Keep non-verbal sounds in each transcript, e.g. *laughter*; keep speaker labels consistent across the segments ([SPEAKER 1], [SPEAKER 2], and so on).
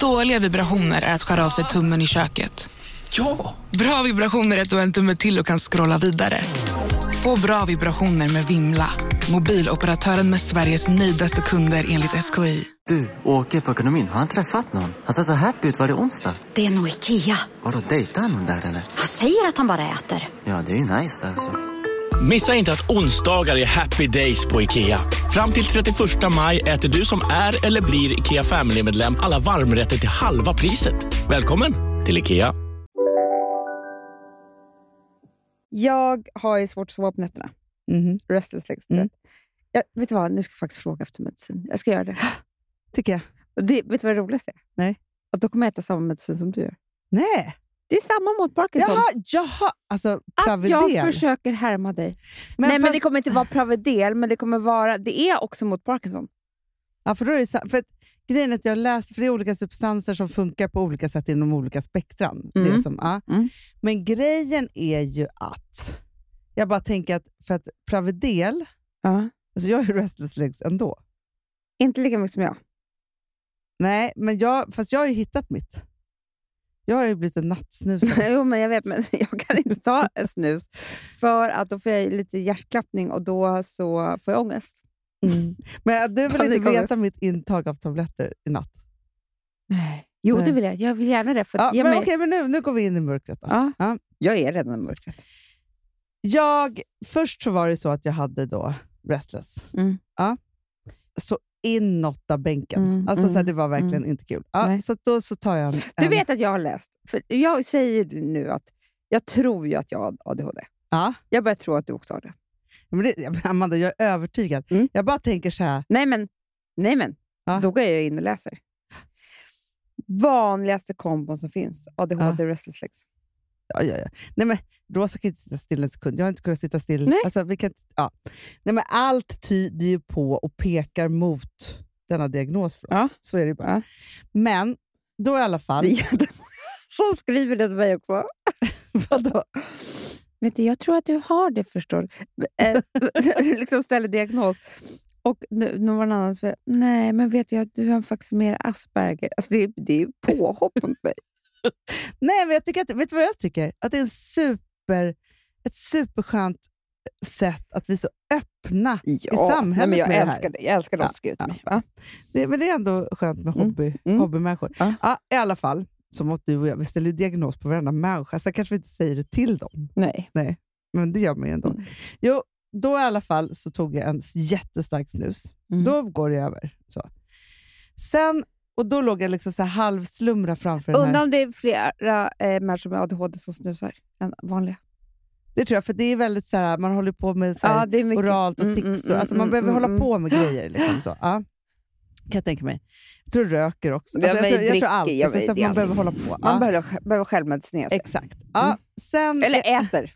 [SPEAKER 1] Dåliga vibrationer är att skära av sig tummen i köket.
[SPEAKER 2] Ja!
[SPEAKER 1] Bra vibrationer är att du har en tumme till och kan scrolla vidare. Få bra vibrationer med Vimla. Mobiloperatören med Sveriges nöjdaste kunder enligt SKI.
[SPEAKER 3] Du, åker på ekonomin. Har han träffat någon? Han ser så happy ut. Var det onsdag?
[SPEAKER 4] Det är nog Ikea.
[SPEAKER 3] Vadå, dejtar han någon där eller?
[SPEAKER 4] Han säger att han bara äter.
[SPEAKER 3] Ja, det är ju nice där alltså.
[SPEAKER 5] Missa inte att onsdagar är happy days på IKEA. Fram till 31 maj äter du som är eller blir IKEA Family-medlem alla varmrätter till halva priset. Välkommen till IKEA.
[SPEAKER 6] Jag har ju svårt att sova på nätterna.
[SPEAKER 7] Mhm.
[SPEAKER 6] Restless legs.
[SPEAKER 7] Mm.
[SPEAKER 6] Jag, vet du vad? Nu ska jag faktiskt fråga efter medicin. Jag ska göra det.
[SPEAKER 7] Tycker jag.
[SPEAKER 6] Och det vet du vad det roligaste är?
[SPEAKER 7] Nej.
[SPEAKER 6] Att då kommer jag äta samma medicin som du gör.
[SPEAKER 7] Nej.
[SPEAKER 6] Det är samma mot Parkinson.
[SPEAKER 7] Jaha, jaha. Alltså,
[SPEAKER 6] att
[SPEAKER 7] Pravidel.
[SPEAKER 6] jag försöker härma dig.
[SPEAKER 7] Men
[SPEAKER 6] Nej, men
[SPEAKER 7] fast-
[SPEAKER 6] det kommer inte vara Pravedel, men det kommer vara... Det är också mot Parkinson.
[SPEAKER 7] Ja, för då är det, sa- för att, grejen är att jag läste, för det är olika substanser som funkar på olika sätt inom olika spektran.
[SPEAKER 6] Mm.
[SPEAKER 7] Det som, ja.
[SPEAKER 6] Mm.
[SPEAKER 7] Men grejen är ju att, jag bara tänker att för att Pravidel,
[SPEAKER 6] Ja.
[SPEAKER 7] alltså jag är ju restless legs ändå.
[SPEAKER 6] Inte lika mycket som jag. *laughs*
[SPEAKER 7] Nej, men jag, fast jag har ju hittat mitt. Jag har ju blivit
[SPEAKER 6] *laughs*
[SPEAKER 7] en nattsnusare.
[SPEAKER 6] jo, men jag vet, men jag kan inte ta en snus. För att då får jag lite hjärtklappning och då så får jag ångest. Mm.
[SPEAKER 7] Men du vill inte
[SPEAKER 6] Panikångest.
[SPEAKER 7] veta mitt intag av tabletter i natt?
[SPEAKER 6] Nej. Jo,
[SPEAKER 7] Nej.
[SPEAKER 6] det vill jag. Jag vill gärna det. För
[SPEAKER 7] Ja,
[SPEAKER 6] att ge
[SPEAKER 7] men
[SPEAKER 6] mig...
[SPEAKER 7] Okej, men nu, nu går vi in i mörkret. Då.
[SPEAKER 6] ja.
[SPEAKER 7] Ja.
[SPEAKER 6] Jag är redan i mörkret.
[SPEAKER 7] Jag, först så var det så att jag hade då Restless.
[SPEAKER 6] Mm.
[SPEAKER 7] Ja. Så inåt av bänken.
[SPEAKER 6] Mm,
[SPEAKER 7] alltså, Så här,
[SPEAKER 6] mm,
[SPEAKER 7] det var verkligen inte kul. Ja,
[SPEAKER 6] Nej.
[SPEAKER 7] så att då så tar jag en,
[SPEAKER 6] Du
[SPEAKER 7] en-
[SPEAKER 6] vet att jag har läst. För jag säger ju nu att jag tror ju att jag har ADHD.
[SPEAKER 7] Ja.
[SPEAKER 6] Jag börjar tro att du också har det.
[SPEAKER 7] Men det, ja, men Amanda, jag är övertygad.
[SPEAKER 6] Mm.
[SPEAKER 7] Jag bara tänker så här.
[SPEAKER 6] Nej, men, nej, men.
[SPEAKER 7] Ja.
[SPEAKER 6] då går jag in och läser. Vanligaste kombon som finns, ADHD och restless legs.
[SPEAKER 7] Ja, ja, ja. Nej, men, Rosa kan inte sitta still en sekund. Jag har inte kunnat sitta still.
[SPEAKER 6] Nej.
[SPEAKER 7] Alltså, vi kan, inte- ja. Nej, men allt tyder ju på och pekar mot denna diagnos för oss.
[SPEAKER 6] Ja.
[SPEAKER 7] Så är det ju bara.
[SPEAKER 6] Ja.
[SPEAKER 7] Men då i alla fall...
[SPEAKER 6] Det är jättemånga *laughs* som skriver det till mig också. *laughs*
[SPEAKER 7] Vadå?
[SPEAKER 6] Vet du, jag tror att du har det, förstår du. *laughs* Eh, *laughs* liksom ställer diagnos. Och nu, någon annan säger, nej, men vet du, jag, du har faktiskt mer Asperger. Alltså, det, är- det är ju påhopp mot *laughs* mig.
[SPEAKER 7] Nej, men jag tycker att, vet du vad jag tycker? Att det är en super, ett superskönt sätt att vi är så öppna.
[SPEAKER 6] Ja,
[SPEAKER 7] samhället
[SPEAKER 6] nej, men jag
[SPEAKER 7] med det här.
[SPEAKER 6] älskar det. Jag älskar de som
[SPEAKER 7] Ja,
[SPEAKER 6] skriver till
[SPEAKER 7] ja.
[SPEAKER 6] mig. Va?
[SPEAKER 7] Det, men det är ändå skönt med
[SPEAKER 6] Mm,
[SPEAKER 7] hobby,
[SPEAKER 6] mm.
[SPEAKER 7] hobbymänniskor.
[SPEAKER 6] Ja.
[SPEAKER 7] Ja, I alla fall, som att du och jag, vi ställer ju diagnos på varenda människa, så kanske vi inte säger det till dem,
[SPEAKER 6] Nej.
[SPEAKER 7] men det gör man ju ändå.
[SPEAKER 6] Mm.
[SPEAKER 7] Jo, då i alla fall så tog jag en s- jättestark snus.
[SPEAKER 6] Mm.
[SPEAKER 7] Då går det över. Så. Sen, och då låg jag liksom så här halvslumra framför den
[SPEAKER 6] Undrar
[SPEAKER 7] här.
[SPEAKER 6] om det är flera eh, människor med ADHD som snusar än vanliga.
[SPEAKER 7] Det tror jag, för det är väldigt så här, man håller på med så här,
[SPEAKER 6] det är mycket.
[SPEAKER 7] oralt och
[SPEAKER 6] Mm,
[SPEAKER 7] tics.
[SPEAKER 6] mm,
[SPEAKER 7] och, alltså man
[SPEAKER 6] mm,
[SPEAKER 7] behöver
[SPEAKER 6] mm,
[SPEAKER 7] hålla
[SPEAKER 6] mm.
[SPEAKER 7] på med grejer. Liksom, så. Ja. Kan jag tänka mig. Jag tror röker också.
[SPEAKER 6] Ja,
[SPEAKER 7] Alltså,
[SPEAKER 6] men
[SPEAKER 7] jag, tror, jag
[SPEAKER 6] dricker,
[SPEAKER 7] tror allt.
[SPEAKER 6] jag
[SPEAKER 7] Liksom, så
[SPEAKER 6] vet
[SPEAKER 7] att
[SPEAKER 6] det.
[SPEAKER 7] man behöver hålla
[SPEAKER 6] Man
[SPEAKER 7] på. ja.
[SPEAKER 6] behöver, behöver självmedicinera sig.
[SPEAKER 7] Exakt. Ja.
[SPEAKER 6] Mm.
[SPEAKER 7] Sen,
[SPEAKER 6] Eller
[SPEAKER 7] vet
[SPEAKER 6] äter.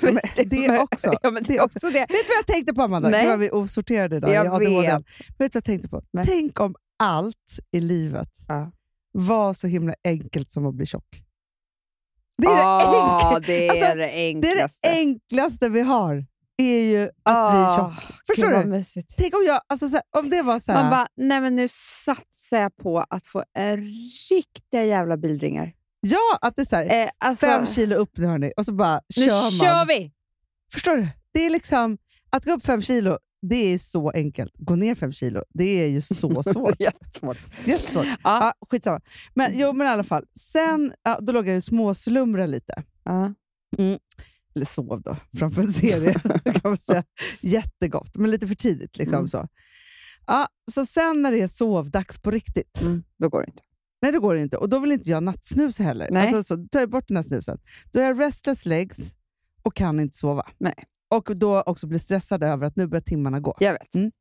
[SPEAKER 7] Men
[SPEAKER 6] *laughs*
[SPEAKER 7] det också.
[SPEAKER 6] ja, men det
[SPEAKER 7] Det
[SPEAKER 6] är också det.
[SPEAKER 7] du vad jag tänkte på Amanda?
[SPEAKER 6] Nej.
[SPEAKER 7] Nej. var vi osorterade idag.
[SPEAKER 6] Jag
[SPEAKER 7] i ADHD.
[SPEAKER 6] vet.
[SPEAKER 7] Vet du vad jag tänkte på?
[SPEAKER 6] Nej.
[SPEAKER 7] Tänk om allt i livet
[SPEAKER 6] Ja.
[SPEAKER 7] var så himla enkelt som att bli tjock. Det är, det,
[SPEAKER 6] Ah,
[SPEAKER 7] enkla,
[SPEAKER 6] det, är
[SPEAKER 7] Alltså,
[SPEAKER 6] det
[SPEAKER 7] det, är
[SPEAKER 6] enklaste. Ah,
[SPEAKER 7] det enklaste vi har. är ju att bli tjock. Förstår
[SPEAKER 6] gud,
[SPEAKER 7] du?
[SPEAKER 6] Vad mysigt.
[SPEAKER 7] Tänk om, jag, alltså, så här, om det var så här...
[SPEAKER 6] Man bara, nej men nu satsar jag på att få eh, riktiga jävla bildringar.
[SPEAKER 7] Ja, att det är så här,
[SPEAKER 6] Eh, alltså,
[SPEAKER 7] fem kilo upp nu hörni och så bara
[SPEAKER 6] nu
[SPEAKER 7] kör man.
[SPEAKER 6] kör vi!
[SPEAKER 7] *laughs* Förstår du? Det är liksom, att gå upp fem kilo, det är så enkelt. Gå ner fem kilo, det är
[SPEAKER 6] *laughs*
[SPEAKER 7] ju så svårt.
[SPEAKER 6] Jättesvårt.
[SPEAKER 7] Jättesvårt. Ja.
[SPEAKER 6] Ja.
[SPEAKER 7] skitsamma. Men, jo, men i alla fall. Sen ja, då låg jag ju småslumra lite.
[SPEAKER 6] Ja.
[SPEAKER 7] Eller sov då, framför en serie. *laughs* kan man säga. Jättegott, men lite för tidigt. Liksom,
[SPEAKER 6] Mm.
[SPEAKER 7] så. Ja, så sen när det är sovdags på riktigt,
[SPEAKER 6] Mm, då går det inte.
[SPEAKER 7] Nej, det går det inte. Och då vill inte jag nattsnus heller.
[SPEAKER 6] Nej.
[SPEAKER 7] Alltså, så, då tar jag bort den här snusen. Då är jag restless legs och kan inte sova.
[SPEAKER 6] Nej.
[SPEAKER 7] Och då också blir stressad över att nu börjar timmarna gå.
[SPEAKER 6] Jag vet.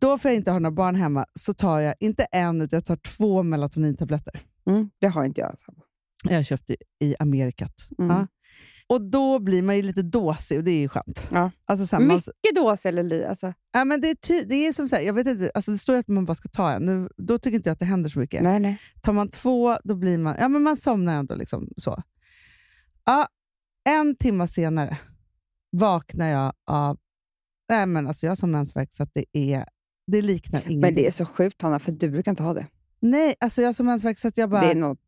[SPEAKER 7] Då får jag inte ha några barn hemma, så tar jag inte en, utan jag tar två melatonintabletter.
[SPEAKER 6] Mm, det har inte jag. Alltså.
[SPEAKER 7] Jag köpte i Amerikat.
[SPEAKER 6] Mm.
[SPEAKER 7] Ja. Och då blir man ju lite dåsig och det är ju skönt.
[SPEAKER 6] Ja.
[SPEAKER 7] Alltså, så här, man,
[SPEAKER 6] Mycket dås eller li. Alltså.
[SPEAKER 7] ja, men det, är ty, det är som så här, jag vet inte, alltså, det står ju att man bara ska ta en. Nu, då tycker inte jag att det händer så mycket.
[SPEAKER 6] Nej, nej.
[SPEAKER 7] Tar man två, då blir man... Ja, men man somnar ändå. liksom så. Ja, en timme senare vaknar jag av... Nej, men alltså jag har som mensvärk så att det, är, det liknar ingenting.
[SPEAKER 6] Men det är så sjukt Hanna, för du brukar inte ha det.
[SPEAKER 7] Nej, alltså jag har så mensvärk så att jag bara...
[SPEAKER 6] Det är något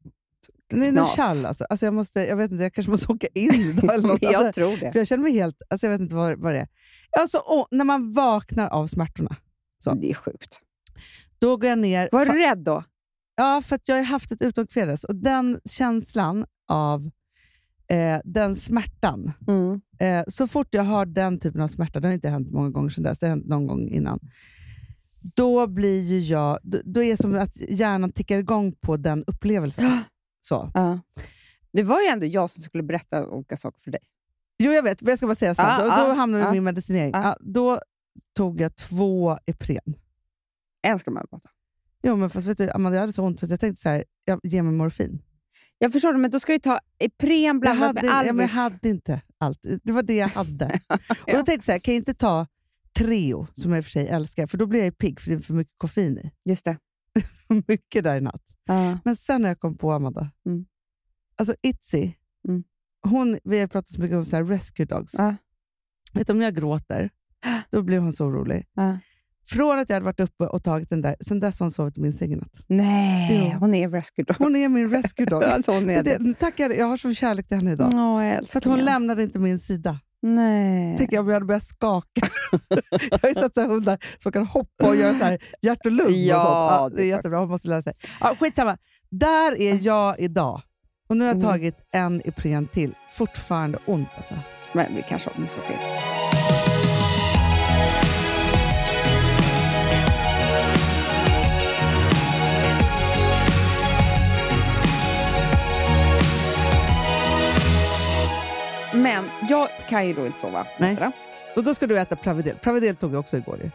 [SPEAKER 7] det är något
[SPEAKER 6] knas.
[SPEAKER 7] tjall alltså. alltså jag, måste, jag vet inte, jag kanske måste åka
[SPEAKER 6] *laughs*
[SPEAKER 7] in idag eller något. Alltså,
[SPEAKER 6] jag tror det.
[SPEAKER 7] för jag känner mig helt... Alltså jag vet inte vad, vad det är. Alltså, åh, när man vaknar av smärtorna, så.
[SPEAKER 6] Det är sjukt.
[SPEAKER 7] då går jag ner...
[SPEAKER 6] Var
[SPEAKER 7] fa-
[SPEAKER 6] du rädd då?
[SPEAKER 7] Ja, för att jag har haft ett utåg fredags och den känslan av eh, den smärtan. Eh, så fort jag har den typen av smärta, det har inte hänt många gånger sedan dess, det har hänt någon gång innan. Då blir ju jag... Då, då är det som att hjärnan tickar igång på den
[SPEAKER 6] *gasps*
[SPEAKER 7] upplevelsen. Så.
[SPEAKER 6] Ja. Det var ju ändå jag som skulle berätta olika saker för dig.
[SPEAKER 7] Jo, jag vet, men jag ska bara säga så.
[SPEAKER 6] Ah,
[SPEAKER 7] då, då
[SPEAKER 6] ah,
[SPEAKER 7] hamnade vi i
[SPEAKER 6] ah.
[SPEAKER 7] min medicinering.
[SPEAKER 6] Ah.
[SPEAKER 7] Ja, då tog jag två Ipren.
[SPEAKER 6] En ska man prata.
[SPEAKER 7] Jo, men fast vet du, Amanda, jag hade så ont så att jag tänkte så här, jag ger mig morfin.
[SPEAKER 6] Jag förstår det, men då ska du ta Ipren
[SPEAKER 7] Jag
[SPEAKER 6] blandat
[SPEAKER 7] hade,
[SPEAKER 6] med
[SPEAKER 7] ja, men jag
[SPEAKER 6] Alvis.
[SPEAKER 7] hade inte allt. Det var det
[SPEAKER 6] *laughs*
[SPEAKER 7] jag hade. Och då tänkte jag så här, kan jag inte ta Treo, som jag i och för sig älskar, för då blir jag ju pigg för det är för mycket koffein i. *laughs*
[SPEAKER 6] Just det.
[SPEAKER 7] För mycket där i natt. Men sen när jag kom på Amanda,
[SPEAKER 6] Mm.
[SPEAKER 7] alltså Itzy,
[SPEAKER 6] Mm.
[SPEAKER 7] hon, vi har pratat så mycket om så här rescue dogs.
[SPEAKER 6] Ja.
[SPEAKER 7] Vet du, om jag
[SPEAKER 6] *gasps*
[SPEAKER 7] gråter, då blir hon så orolig.
[SPEAKER 6] Ja.
[SPEAKER 7] Från att jag hade varit uppe och tagit den där, sen dess har hon sovit i min säng i natt.
[SPEAKER 6] Nej,
[SPEAKER 7] Jo.
[SPEAKER 6] hon är rescue dog.
[SPEAKER 7] Hon är min rescue
[SPEAKER 6] *laughs*
[SPEAKER 7] dog.
[SPEAKER 6] Ja, hon är
[SPEAKER 7] det,
[SPEAKER 6] det. Mm,
[SPEAKER 7] det, tackar, jag har sån kärlek till henne idag.
[SPEAKER 6] Åh,
[SPEAKER 7] För att hon lämnade inte min sida.
[SPEAKER 6] Nej.
[SPEAKER 7] tänker jag om jag hade börjat skaka. *laughs* jag har ju sett så här hundar som kan hoppa och göra så här hjärt och lung.
[SPEAKER 6] Ja,
[SPEAKER 7] och sånt. Ja,
[SPEAKER 6] det
[SPEAKER 7] det
[SPEAKER 6] är
[SPEAKER 7] är jättebra, hon måste lära sig. Ja, skitsamma, där är jag idag. Och nu har jag
[SPEAKER 6] Mm.
[SPEAKER 7] tagit en Ipren till. Fortfarande ont alltså.
[SPEAKER 6] Men vi kanske måste åka in. Men jag kan ju då inte sova.
[SPEAKER 7] Nej.
[SPEAKER 6] nätterna.
[SPEAKER 7] Och då ska du äta Pravidel. Pravidel tog jag också igår ju.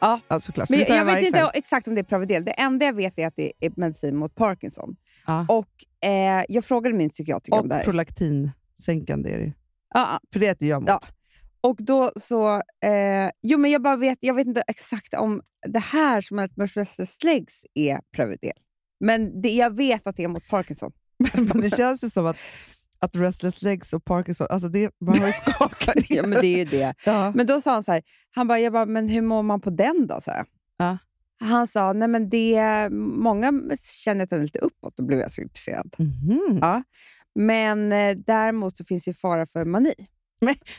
[SPEAKER 6] Ja.
[SPEAKER 7] ja såklart. för
[SPEAKER 6] Men
[SPEAKER 7] det
[SPEAKER 6] jag,
[SPEAKER 7] tar
[SPEAKER 6] jag
[SPEAKER 7] varje
[SPEAKER 6] vet inte
[SPEAKER 7] kväll.
[SPEAKER 6] exakt om det är Pravidel. Det enda jag vet är att det är medicin mot Parkinson.
[SPEAKER 7] Ja.
[SPEAKER 6] Och eh, Jag frågade min psykiater om det
[SPEAKER 7] Och
[SPEAKER 6] här.
[SPEAKER 7] prolaktinsänkande är det ju.
[SPEAKER 6] Ja,
[SPEAKER 7] För det äter jag mot.
[SPEAKER 6] Ja. Och då så... Eh, jo, men jag bara vet, jag vet inte exakt om det här som är ett Mercedes släggs är Prövidel. Men det, jag vet att det är mot
[SPEAKER 7] *laughs*
[SPEAKER 6] Parkinson.
[SPEAKER 7] *laughs* Men det känns ju som att, att restless legs och Parkinson, alltså det,
[SPEAKER 6] *laughs*
[SPEAKER 7] man har ju skakat.
[SPEAKER 6] ja, men det är ju det.
[SPEAKER 7] ja.
[SPEAKER 6] Men då sa han så här, han bara, jag bara, men hur mår man på den då? Så här.
[SPEAKER 7] Ja.
[SPEAKER 6] Han sa, nej men det, många känner att den är lite uppåt. Då blev jag så intresserad.
[SPEAKER 7] Mhm.
[SPEAKER 6] Mm-hmm. Men eh, däremot så finns ju fara för mani.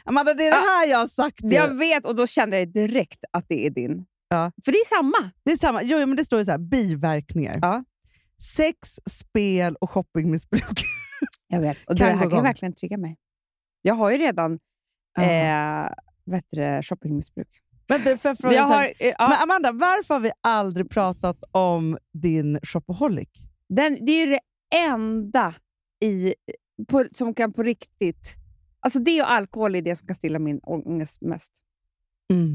[SPEAKER 7] Amanda, det är det här jag har sagt ju.
[SPEAKER 6] Jag vet och då kände jag direkt att det är din.
[SPEAKER 7] Ja.
[SPEAKER 6] För det är samma.
[SPEAKER 7] Det är samma. Jo, jo, men det står ju så här, biverkningar.
[SPEAKER 6] Ja.
[SPEAKER 7] Sex, spel och shoppingmissbruk.
[SPEAKER 6] Jag vet. Och
[SPEAKER 7] Kan
[SPEAKER 6] det
[SPEAKER 7] gå
[SPEAKER 6] här kan ju
[SPEAKER 7] igång.
[SPEAKER 6] verkligen trigga mig. Jag har ju redan eh, vet du, det, shoppingmissbruk.
[SPEAKER 7] Men, du, får jag fråga
[SPEAKER 6] Jag
[SPEAKER 7] så här,
[SPEAKER 6] har, eh, ja,
[SPEAKER 7] men Amanda, varför har vi aldrig pratat om din shopaholic?
[SPEAKER 6] den, det är ju det enda i, på, som kan på riktigt... Alltså det och alkohol är det som kan stilla min ångest mest. Mm.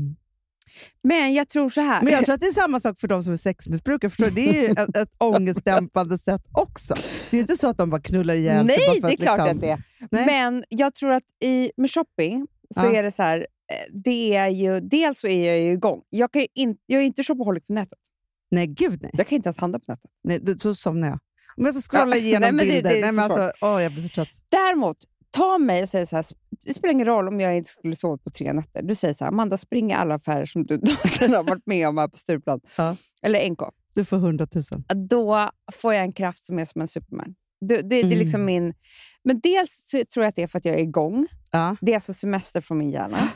[SPEAKER 6] Men jag tror så här. *laughs*
[SPEAKER 7] Men jag tror att det är samma sak för de som är sexmissbrukare. Förstår du? Det är ju ett, ett ångestdämpande sätt också. Det är ju inte så att de bara knullar ihjäl sig. bara
[SPEAKER 6] Nej,
[SPEAKER 7] för
[SPEAKER 6] det är
[SPEAKER 7] att
[SPEAKER 6] klart
[SPEAKER 7] liksom,
[SPEAKER 6] att det är.
[SPEAKER 7] Nej.
[SPEAKER 6] Men jag tror att i, med shopping så
[SPEAKER 7] Ja.
[SPEAKER 6] är det så här. eh, Det är ju, dels så är jag ju igång. Jag, kan ju in, jag är inte shopaholic på nätet.
[SPEAKER 7] Nej, gud nej.
[SPEAKER 6] Jag kan inte ens handla på nätet.
[SPEAKER 7] nej då- så somnar jag. Om jag ska scrolla
[SPEAKER 6] Ja, *laughs*
[SPEAKER 7] igenom
[SPEAKER 6] nej, men det-
[SPEAKER 7] bilder.
[SPEAKER 6] det är
[SPEAKER 7] nej, men
[SPEAKER 6] för
[SPEAKER 7] alltså, åh, jag blir så trött.
[SPEAKER 6] Däremot, ta mig och säg så här, det spelar ingen roll om jag inte skulle sova på tre nätter. Du säger så här, Amanda spring i alla affärer som du *laughs* någonsin har varit med om här på Stureplan.
[SPEAKER 7] Ja.
[SPEAKER 6] Eller NK.
[SPEAKER 7] Du får hundratusen.
[SPEAKER 6] Då får jag en kraft som är som en Superman. Det, det, det är liksom
[SPEAKER 7] Mm.
[SPEAKER 6] min... Men dels så tror jag att det är för att jag är igång.
[SPEAKER 7] Ja.
[SPEAKER 6] Det är alltså semester från min
[SPEAKER 7] *gasps*
[SPEAKER 6] hjärna.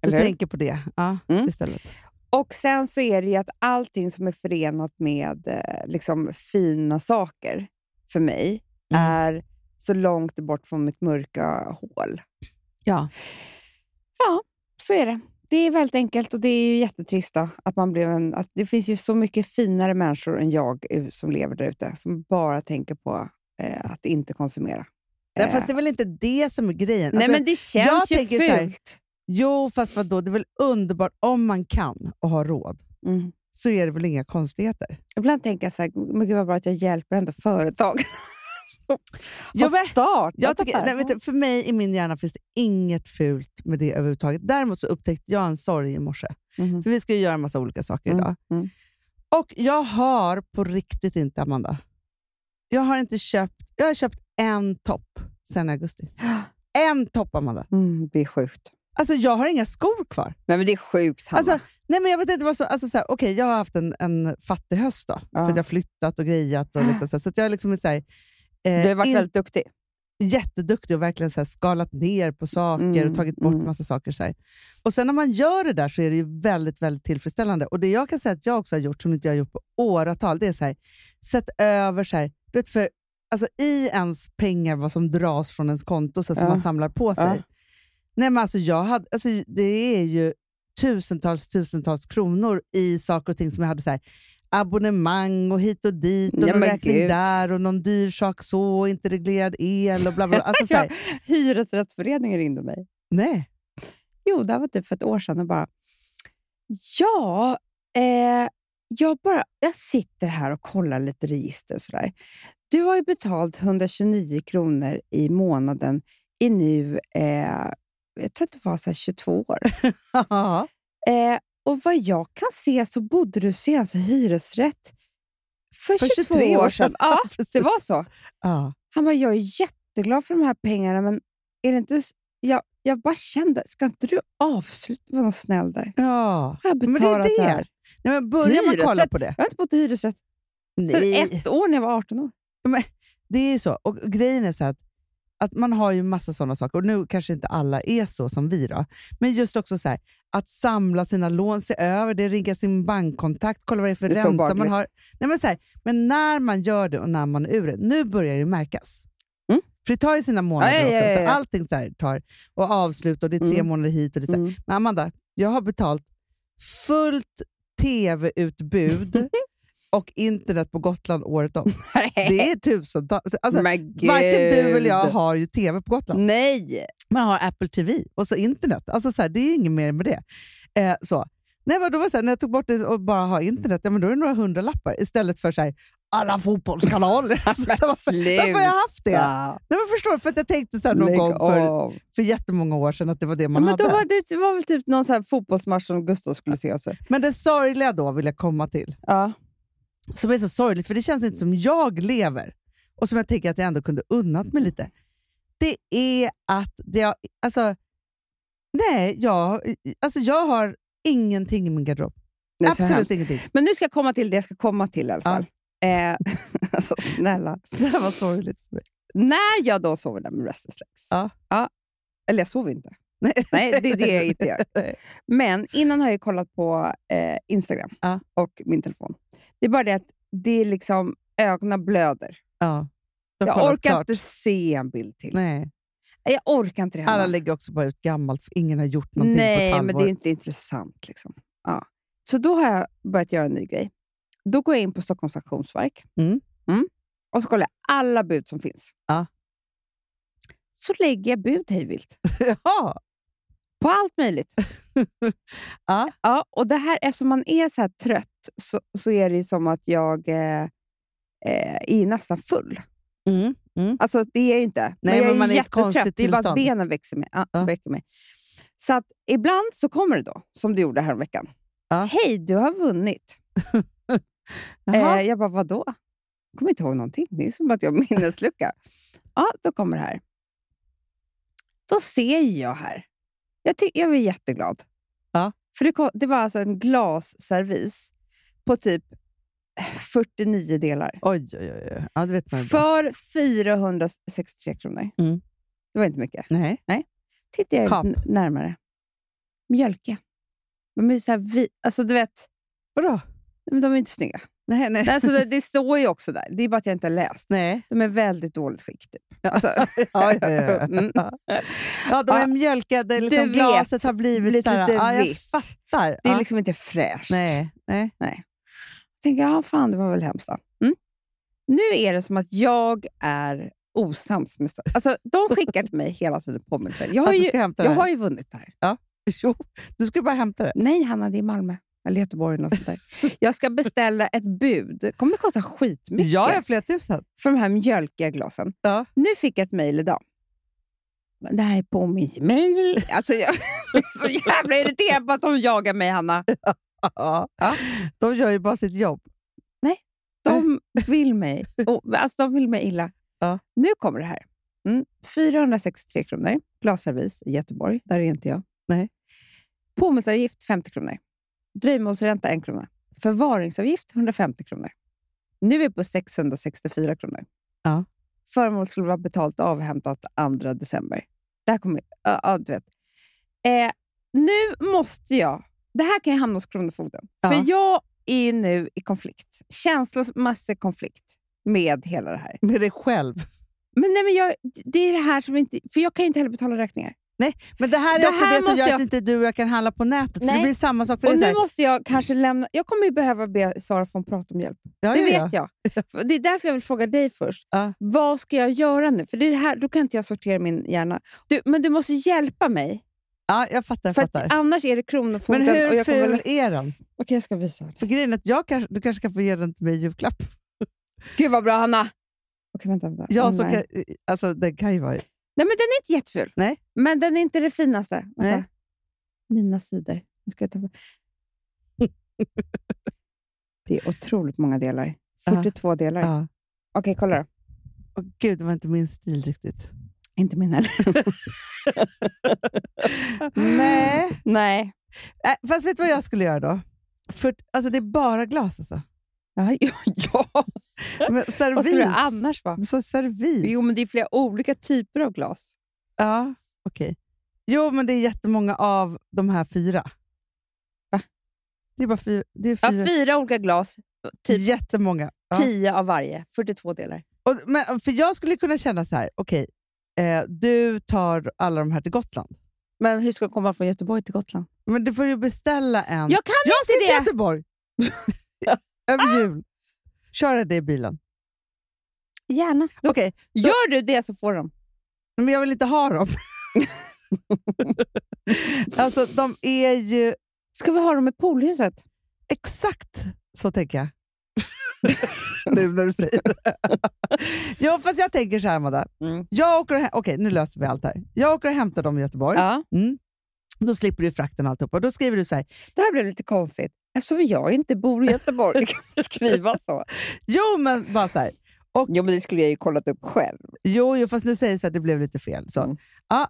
[SPEAKER 7] Du
[SPEAKER 6] Eller hur?
[SPEAKER 7] tänker på det ja,
[SPEAKER 6] Mm.
[SPEAKER 7] istället.
[SPEAKER 6] Och sen så är det ju att allting som är förenat med eh, liksom, fina saker för mig
[SPEAKER 7] Mm.
[SPEAKER 6] är så långt bort från mitt mörka hål.
[SPEAKER 7] Ja.
[SPEAKER 6] Så är det. Det är väldigt enkelt och det är ju jättetrist då, att man blev en... Att det finns ju så mycket finare människor än jag eh, som lever där ute som bara tänker på eh, att inte konsumera.
[SPEAKER 7] Nej,
[SPEAKER 6] Eh,
[SPEAKER 7] fast det är väl inte det som är grejen?
[SPEAKER 6] nej,
[SPEAKER 7] Alltså,
[SPEAKER 6] men det
[SPEAKER 7] jag
[SPEAKER 6] känns ju
[SPEAKER 7] tänker så här-
[SPEAKER 6] fult.
[SPEAKER 7] Jo, fast vadå? Det är väl underbart om man kan och har råd.
[SPEAKER 6] Mm.
[SPEAKER 7] Så är det väl inga konstigheter?
[SPEAKER 6] Ibland tänker jag så här, men gud vad bra att jag hjälper ändå *laughs* företag.
[SPEAKER 7] Jo, men-
[SPEAKER 6] startat
[SPEAKER 7] Jag tycker,
[SPEAKER 6] affärer.
[SPEAKER 7] nej, vet du, för mig i min hjärna finns det inget fult med det överhuvudtaget. Däremot så upptäckte jag en sorg i morse.
[SPEAKER 6] Mhm.
[SPEAKER 7] För vi ska ju göra en massa olika saker
[SPEAKER 6] Mm,
[SPEAKER 7] idag.
[SPEAKER 6] mm.
[SPEAKER 7] Och jag har på riktigt inte, Amanda. Jag har inte köpt... Jag har köpt en topp sedan
[SPEAKER 6] *gasps*
[SPEAKER 7] augusti. En topp, Amanda.
[SPEAKER 6] Mm, det är sjukt.
[SPEAKER 7] Alltså, jag har inga skor kvar.
[SPEAKER 6] Nej, men det är sjukt, Hanna.
[SPEAKER 7] Alltså, Nej, men jag vet inte vad som... Alltså, så här, okej, jag har haft en, en fattig höst då.
[SPEAKER 6] Ja. Ah.
[SPEAKER 7] För att jag har flyttat och grejat. Och liksom, så här, så att jag liksom är så här, eh,
[SPEAKER 6] Du har varit
[SPEAKER 7] in-
[SPEAKER 6] väldigt duktig.
[SPEAKER 7] jätteduktig och verkligen så här skalat ner på saker
[SPEAKER 6] Mm,
[SPEAKER 7] och tagit bort
[SPEAKER 6] mm.
[SPEAKER 7] massa saker. Så här. Och sen när man gör det där så är det ju väldigt, väldigt tillfredsställande. Och det jag kan säga att jag också har gjort, som inte jag har gjort på åratal, det är så här, sett över så här, du vet, för, alltså, i ens pengar vad som dras från ens konto så här, som
[SPEAKER 6] Ja.
[SPEAKER 7] man samlar på sig.
[SPEAKER 6] Ja.
[SPEAKER 7] Nej, men alltså, jag hade, alltså, det är ju tusentals, tusentals kronor i saker och ting som jag hade så här, abonnemang och hit och dit och
[SPEAKER 6] Ja,
[SPEAKER 7] någon
[SPEAKER 6] men
[SPEAKER 7] räkning
[SPEAKER 6] gud.
[SPEAKER 7] där och någon dyr sak så, och inte reglerad el och bla bla. bla.
[SPEAKER 6] *laughs*
[SPEAKER 7] Alltså, så här,
[SPEAKER 6] Hyresrättsföreningen ringde mig.
[SPEAKER 7] Nej. *laughs*
[SPEAKER 6] Jo, det här var typ för ett år sedan och bara, ja, eh, jag, bara, jag sitter här och kollar lite register och sådär. Du har ju betalt 129 kronor i månaden i nu, eh, jag tror att det var så här 22 år. *laughs*
[SPEAKER 7] Ja.
[SPEAKER 6] Eh, och vad jag kan se så bodde du senast i hyresrätt för,
[SPEAKER 7] För
[SPEAKER 6] 22
[SPEAKER 7] 23
[SPEAKER 6] år
[SPEAKER 7] år
[SPEAKER 6] sedan.
[SPEAKER 7] sedan.
[SPEAKER 6] Ja,
[SPEAKER 7] precis.
[SPEAKER 6] det var så.
[SPEAKER 7] Ja.
[SPEAKER 6] Han bara, jag är jätteglad för de här pengarna, men är det inte... s- Jag, jag bara kände, ska inte du avsluta? Var någon snäll där.
[SPEAKER 7] ja.
[SPEAKER 6] Har jag
[SPEAKER 7] Men det är
[SPEAKER 6] betalat det
[SPEAKER 7] det.
[SPEAKER 6] här?
[SPEAKER 7] Nej, men börjar man kolla
[SPEAKER 6] Hyresrätt.
[SPEAKER 7] på det?
[SPEAKER 6] Jag har inte bott i hyresrätt sedan ett år när jag var
[SPEAKER 7] *laughs*
[SPEAKER 6] 18 år.
[SPEAKER 7] Det är ju så. Och grejen är så att, att man har ju massa sådana saker. Och nu kanske inte alla är så som vi då. Men just också så här, att samla sina lån, se över det, ringa sin bankkontakt, kolla vad det är för
[SPEAKER 6] Det är så
[SPEAKER 7] ränta man
[SPEAKER 6] barnligt.
[SPEAKER 7] har. Nej, men, så här, men när man gör det och när man är ur det, nu börjar det märkas.
[SPEAKER 6] Mm.
[SPEAKER 7] För det tar ju sina månader
[SPEAKER 6] Ja, ja,
[SPEAKER 7] också.
[SPEAKER 6] ja, ja,
[SPEAKER 7] Så
[SPEAKER 6] ja.
[SPEAKER 7] allting så här tar och avslut och det är tre
[SPEAKER 6] Mm.
[SPEAKER 7] månader hit och det är så här.
[SPEAKER 6] Mm.
[SPEAKER 7] Men Amanda, jag har betalt fullt
[SPEAKER 6] *laughs*
[SPEAKER 7] tv-utbud och internet på Gotland året om.
[SPEAKER 6] *laughs*
[SPEAKER 7] Det är tusentals. Alltså,
[SPEAKER 6] Men gud. Mm.
[SPEAKER 7] varken du eller jag har ju tv på Gotland.
[SPEAKER 6] Nej!
[SPEAKER 7] Man har Apple TV och så internet. Alltså, så här, det är inget mer med det. Eh, så. Nej, men då var det så här, när jag tog bort det och bara ha internet, ja, men då är det några hundralappar istället för så här,
[SPEAKER 6] *laughs*
[SPEAKER 7] alla fotbollskanaler. Alltså, *laughs* så här, varför, varför har jag haft det?
[SPEAKER 6] Ja,
[SPEAKER 7] Nej, men förstår, du? för att jag tänkte så här någon
[SPEAKER 6] lägg
[SPEAKER 7] gång för,
[SPEAKER 6] av.
[SPEAKER 7] för jättemånga år sedan att det var det
[SPEAKER 6] Ja,
[SPEAKER 7] man
[SPEAKER 6] men
[SPEAKER 7] hade.
[SPEAKER 6] då var det, det var väl typ någon så här fotbollsmatch som Gustav skulle se. Också.
[SPEAKER 7] Men det sorgliga då vill jag komma till,
[SPEAKER 6] Ja.
[SPEAKER 7] som är så sorgligt, för det känns inte som jag lever och som jag tänker att jag ändå kunde unnat mig lite. Det är att jag, alltså, nej, jag, alltså jag har ingenting i min garderob.
[SPEAKER 6] Nej, så
[SPEAKER 7] Absolut
[SPEAKER 6] hemskt.
[SPEAKER 7] ingenting.
[SPEAKER 6] Men nu ska jag komma till det jag ska komma till i alla
[SPEAKER 7] Ja.
[SPEAKER 6] fall. Eh, *laughs* alltså, snälla.
[SPEAKER 7] Det här var sorgligt för mig.
[SPEAKER 6] När jag då sover där med restless legs.
[SPEAKER 7] Ja.
[SPEAKER 6] Eller jag sover inte.
[SPEAKER 7] Nej.
[SPEAKER 6] *laughs* Nej, det är det jag inte gör.
[SPEAKER 7] *laughs* Nej.
[SPEAKER 6] Men innan har jag kollat på eh, Instagram
[SPEAKER 7] Ja.
[SPEAKER 6] och min telefon. Det är bara det att det är liksom, ögonen blöder.
[SPEAKER 7] Ja, de har
[SPEAKER 6] Jag
[SPEAKER 7] kollat
[SPEAKER 6] orkar
[SPEAKER 7] klart.
[SPEAKER 6] inte se en bild till.
[SPEAKER 7] Nej.
[SPEAKER 6] Jag orkar inte det här.
[SPEAKER 7] Alla lägger också bara ut gammalt, för ingen har gjort någonting på ett
[SPEAKER 6] Nej,
[SPEAKER 7] halvår.
[SPEAKER 6] men det är inte intressant. Liksom. Ja. Så då har jag börjat göra en ny grej. Då går jag in på Stockholms auktionsverk
[SPEAKER 7] Mm.
[SPEAKER 6] Mm. och så kollar jag alla bud som finns.
[SPEAKER 7] Ja.
[SPEAKER 6] Så lägger jag bud hejvilt
[SPEAKER 7] Jaha.
[SPEAKER 6] på allt
[SPEAKER 7] *laughs*
[SPEAKER 6] möjligt.
[SPEAKER 7] Ja.
[SPEAKER 6] Ja, och det här, eftersom man är så här trött så, så är det ju som att jag eh, eh, är nästan full.
[SPEAKER 7] Mm. Mm.
[SPEAKER 6] Alltså det är jag ju inte.
[SPEAKER 7] Nej,
[SPEAKER 6] jag
[SPEAKER 7] men man är i ett
[SPEAKER 6] jättetrött.
[SPEAKER 7] konstigt
[SPEAKER 6] Det är bara att
[SPEAKER 7] tillstånd.
[SPEAKER 6] benen växer mig. Ja,
[SPEAKER 7] Ja.
[SPEAKER 6] väcker mig. Så att ibland så kommer det då, som det gjorde häromveckan.
[SPEAKER 7] Ja.
[SPEAKER 6] Hej, du har vunnit.
[SPEAKER 7] Jaha.
[SPEAKER 6] Eh, jag bara, vadå? Jag kommer inte ihåg någonting. Det är som att jag har minneslucka.
[SPEAKER 7] *laughs*
[SPEAKER 6] ja, då kommer det här. Då ser jag här. Jag, ty- jag var jätteglad.
[SPEAKER 7] Ja.
[SPEAKER 6] För det, kom, det var alltså en glasservis på typ 49 delar.
[SPEAKER 7] Oj, oj, oj. oj. Ja, det vet man ju bra.
[SPEAKER 6] För 463 kronor.
[SPEAKER 7] Mm.
[SPEAKER 6] Det var inte mycket.
[SPEAKER 7] Nej.
[SPEAKER 6] Tittar jag
[SPEAKER 7] Kap.
[SPEAKER 6] n- närmare. Mjölke. De är ju så här vi- alltså du vet,
[SPEAKER 7] Vadå?
[SPEAKER 6] men de är inte snygga.
[SPEAKER 7] *laughs* Nej, nej.
[SPEAKER 6] Nej, Alltså, det, det står ju också där. Det är bara att jag inte har läst.
[SPEAKER 7] nej.
[SPEAKER 6] De är väldigt dåligt skick.
[SPEAKER 7] *laughs*
[SPEAKER 6] Typ. Alltså,
[SPEAKER 7] Ja, ja, ja.
[SPEAKER 6] *laughs* Mm.
[SPEAKER 7] Ja, de är
[SPEAKER 6] Ja.
[SPEAKER 7] mjölkade, liksom
[SPEAKER 6] Du vet.
[SPEAKER 7] glaset har blivit
[SPEAKER 6] Lite
[SPEAKER 7] så här, ja, jag
[SPEAKER 6] vitt.
[SPEAKER 7] fattar.
[SPEAKER 6] det är
[SPEAKER 7] Ja.
[SPEAKER 6] liksom inte fräscht.
[SPEAKER 7] nej, nej.
[SPEAKER 6] Jag tänker, ja fan det var väl hemskt då. Mm. Nu är det som att jag är osams med Stör- Alltså De skickar till mig hela tiden påminnelser. Jag har
[SPEAKER 7] Att du
[SPEAKER 6] ju,
[SPEAKER 7] ska hämta det
[SPEAKER 6] jag
[SPEAKER 7] här.
[SPEAKER 6] har ju vunnit det här.
[SPEAKER 7] Jo, du ska bara hämta det.
[SPEAKER 6] Nej, Hanna, det är Malmö. Eller Göteborg eller något
[SPEAKER 7] *laughs*
[SPEAKER 6] sånt där. Jag ska beställa ett bud. Det kommer kosta skitmycket
[SPEAKER 7] Ja, jag flera tusen.
[SPEAKER 6] för de här mjölkiga glasen.
[SPEAKER 7] Ja.
[SPEAKER 6] Nu fick jag ett mejl idag. Det här är på mitt mejl. Alltså, jag *laughs* blir så jävla irriterad på att de jagar mig, Hanna.
[SPEAKER 7] Ja. De gör ju bara sitt jobb.
[SPEAKER 6] De vill mig, och, alltså, de vill mig illa.
[SPEAKER 7] Ja.
[SPEAKER 6] Nu kommer det här. Mm. 463 kronor, glasservis i Göteborg. Där är inte jag.
[SPEAKER 7] Nej.
[SPEAKER 6] Påminnelseavgift 50 kronor. Dröjsmålsränta 1 krona. Förvaringsavgift 150 kronor. Nu är på 664 kronor.
[SPEAKER 7] Ja.
[SPEAKER 6] Föremål skulle vara betalt och avhämtat 2 december. Det här kommer... Ja, ja, du vet. Eh, nu måste jag... Det här kan ju hamna hos Kronofogden.
[SPEAKER 7] Ja.
[SPEAKER 6] För jag är ju nu i konflikt. Känslomässig konflikt med hela det här.
[SPEAKER 7] Med dig själv.
[SPEAKER 6] Men, nej, men jag, det är det här som inte... För jag kan ju inte heller betala räkningar.
[SPEAKER 7] Men det här är
[SPEAKER 6] Det
[SPEAKER 7] också
[SPEAKER 6] här
[SPEAKER 7] det som
[SPEAKER 6] måste
[SPEAKER 7] gör
[SPEAKER 6] jag-
[SPEAKER 7] att inte du och jag kan handla på nätet. För
[SPEAKER 4] Nej.
[SPEAKER 7] det blir samma sak för
[SPEAKER 6] Och
[SPEAKER 7] dig.
[SPEAKER 6] nu
[SPEAKER 7] så här,
[SPEAKER 6] måste jag kanske lämna... Jag kommer ju behöva be Sara från prata om hjälp.
[SPEAKER 7] ja,
[SPEAKER 6] det
[SPEAKER 7] ja, ja.
[SPEAKER 6] vet jag. För Det är därför jag vill fråga dig först.
[SPEAKER 7] Ja.
[SPEAKER 6] Vad ska jag göra nu? För det är det här, Då kan inte jag sortera min hjärna. Du, men du måste hjälpa mig,
[SPEAKER 7] Ja, jag fattar. Jag
[SPEAKER 6] för
[SPEAKER 7] fattar.
[SPEAKER 6] att annars är det
[SPEAKER 7] Men
[SPEAKER 6] Kronofogden. och
[SPEAKER 7] hur
[SPEAKER 6] jag kommer
[SPEAKER 7] ful
[SPEAKER 6] väl-
[SPEAKER 7] är den?
[SPEAKER 6] Okej, jag ska visa. den.
[SPEAKER 7] För grejen är att jag kanske, du kanske kan få ge den till mig i julklapp.
[SPEAKER 6] Gud vad bra, Hanna! Okej, vänta. vänta.
[SPEAKER 7] Ja,
[SPEAKER 6] Åh,
[SPEAKER 7] så
[SPEAKER 6] nej.
[SPEAKER 7] kan, alltså, den kan ju vara...
[SPEAKER 6] nej, men den är inte jätteful.
[SPEAKER 7] Nej.
[SPEAKER 6] Men den är inte det finaste. Vänta.
[SPEAKER 7] Nej.
[SPEAKER 6] Mina sidor. Nu ska jag ta... *laughs* det är otroligt många delar.
[SPEAKER 7] Ja.
[SPEAKER 6] 42 delar.
[SPEAKER 7] Ja.
[SPEAKER 6] Okej, kolla då.
[SPEAKER 7] Åh, gud, det var inte min stil *laughs* riktigt.
[SPEAKER 6] Inte min *laughs* heller.
[SPEAKER 7] Nej.
[SPEAKER 6] Nej.
[SPEAKER 7] Äh, fast vet du vad jag skulle göra då? För, alltså, det är bara glas alltså.
[SPEAKER 6] Ja, ja, ja.
[SPEAKER 7] Men
[SPEAKER 6] *laughs*
[SPEAKER 7] servis.
[SPEAKER 6] Vad skulle det annars vara?
[SPEAKER 7] Så servis.
[SPEAKER 6] Jo, men det är flera olika typer av glas.
[SPEAKER 7] Ja, okej. Jo, men det är jättemånga av de här fyra.
[SPEAKER 6] Va?
[SPEAKER 7] Det är bara fyra. Det är
[SPEAKER 6] Ja,
[SPEAKER 7] fyra.
[SPEAKER 6] fyra olika glas, typ
[SPEAKER 7] Jättemånga. Ja.
[SPEAKER 6] tio av varje. 42 delar.
[SPEAKER 7] Och, men, för jag skulle kunna känna så här, okej, eh, du tar alla de här till Gotland.
[SPEAKER 6] Men hur ska jag komma från Göteborg till Gotland?
[SPEAKER 7] Men du får ju beställa en.
[SPEAKER 6] Jag kan
[SPEAKER 7] jag ska
[SPEAKER 6] inte
[SPEAKER 7] till
[SPEAKER 6] det! *laughs*
[SPEAKER 7] Göteborg! Över jul. Köra det i bilen.
[SPEAKER 6] Gärna.
[SPEAKER 7] Okej,
[SPEAKER 6] Gör du det så får de.
[SPEAKER 7] men jag vill inte ha *laughs* dem. alltså, de är ju...
[SPEAKER 6] Ska vi ha dem i poolhuset?
[SPEAKER 7] Exakt så tänker jag. *laughs* nu när du säger *laughs* det. ja, fast jag tänker så här, Amanda.
[SPEAKER 6] Mm.
[SPEAKER 7] Jag åker och häm- Okej, nu löser vi allt här. Jag åker och hämtar dem i Göteborg.
[SPEAKER 6] Ja.
[SPEAKER 7] Mm. Då slipper du frakten och alltihopa. Då skriver du så här.
[SPEAKER 6] Det här blev lite konstigt. Eftersom jag inte bor i Göteborg kan man skriva så.
[SPEAKER 7] Jo, men bara så här.
[SPEAKER 6] *laughs* Jo, men det skulle jag ju kollat upp själv.
[SPEAKER 7] Jo, jo fast nu säger jag så här, det blev lite fel. Så.
[SPEAKER 6] Mm.
[SPEAKER 7] Ja,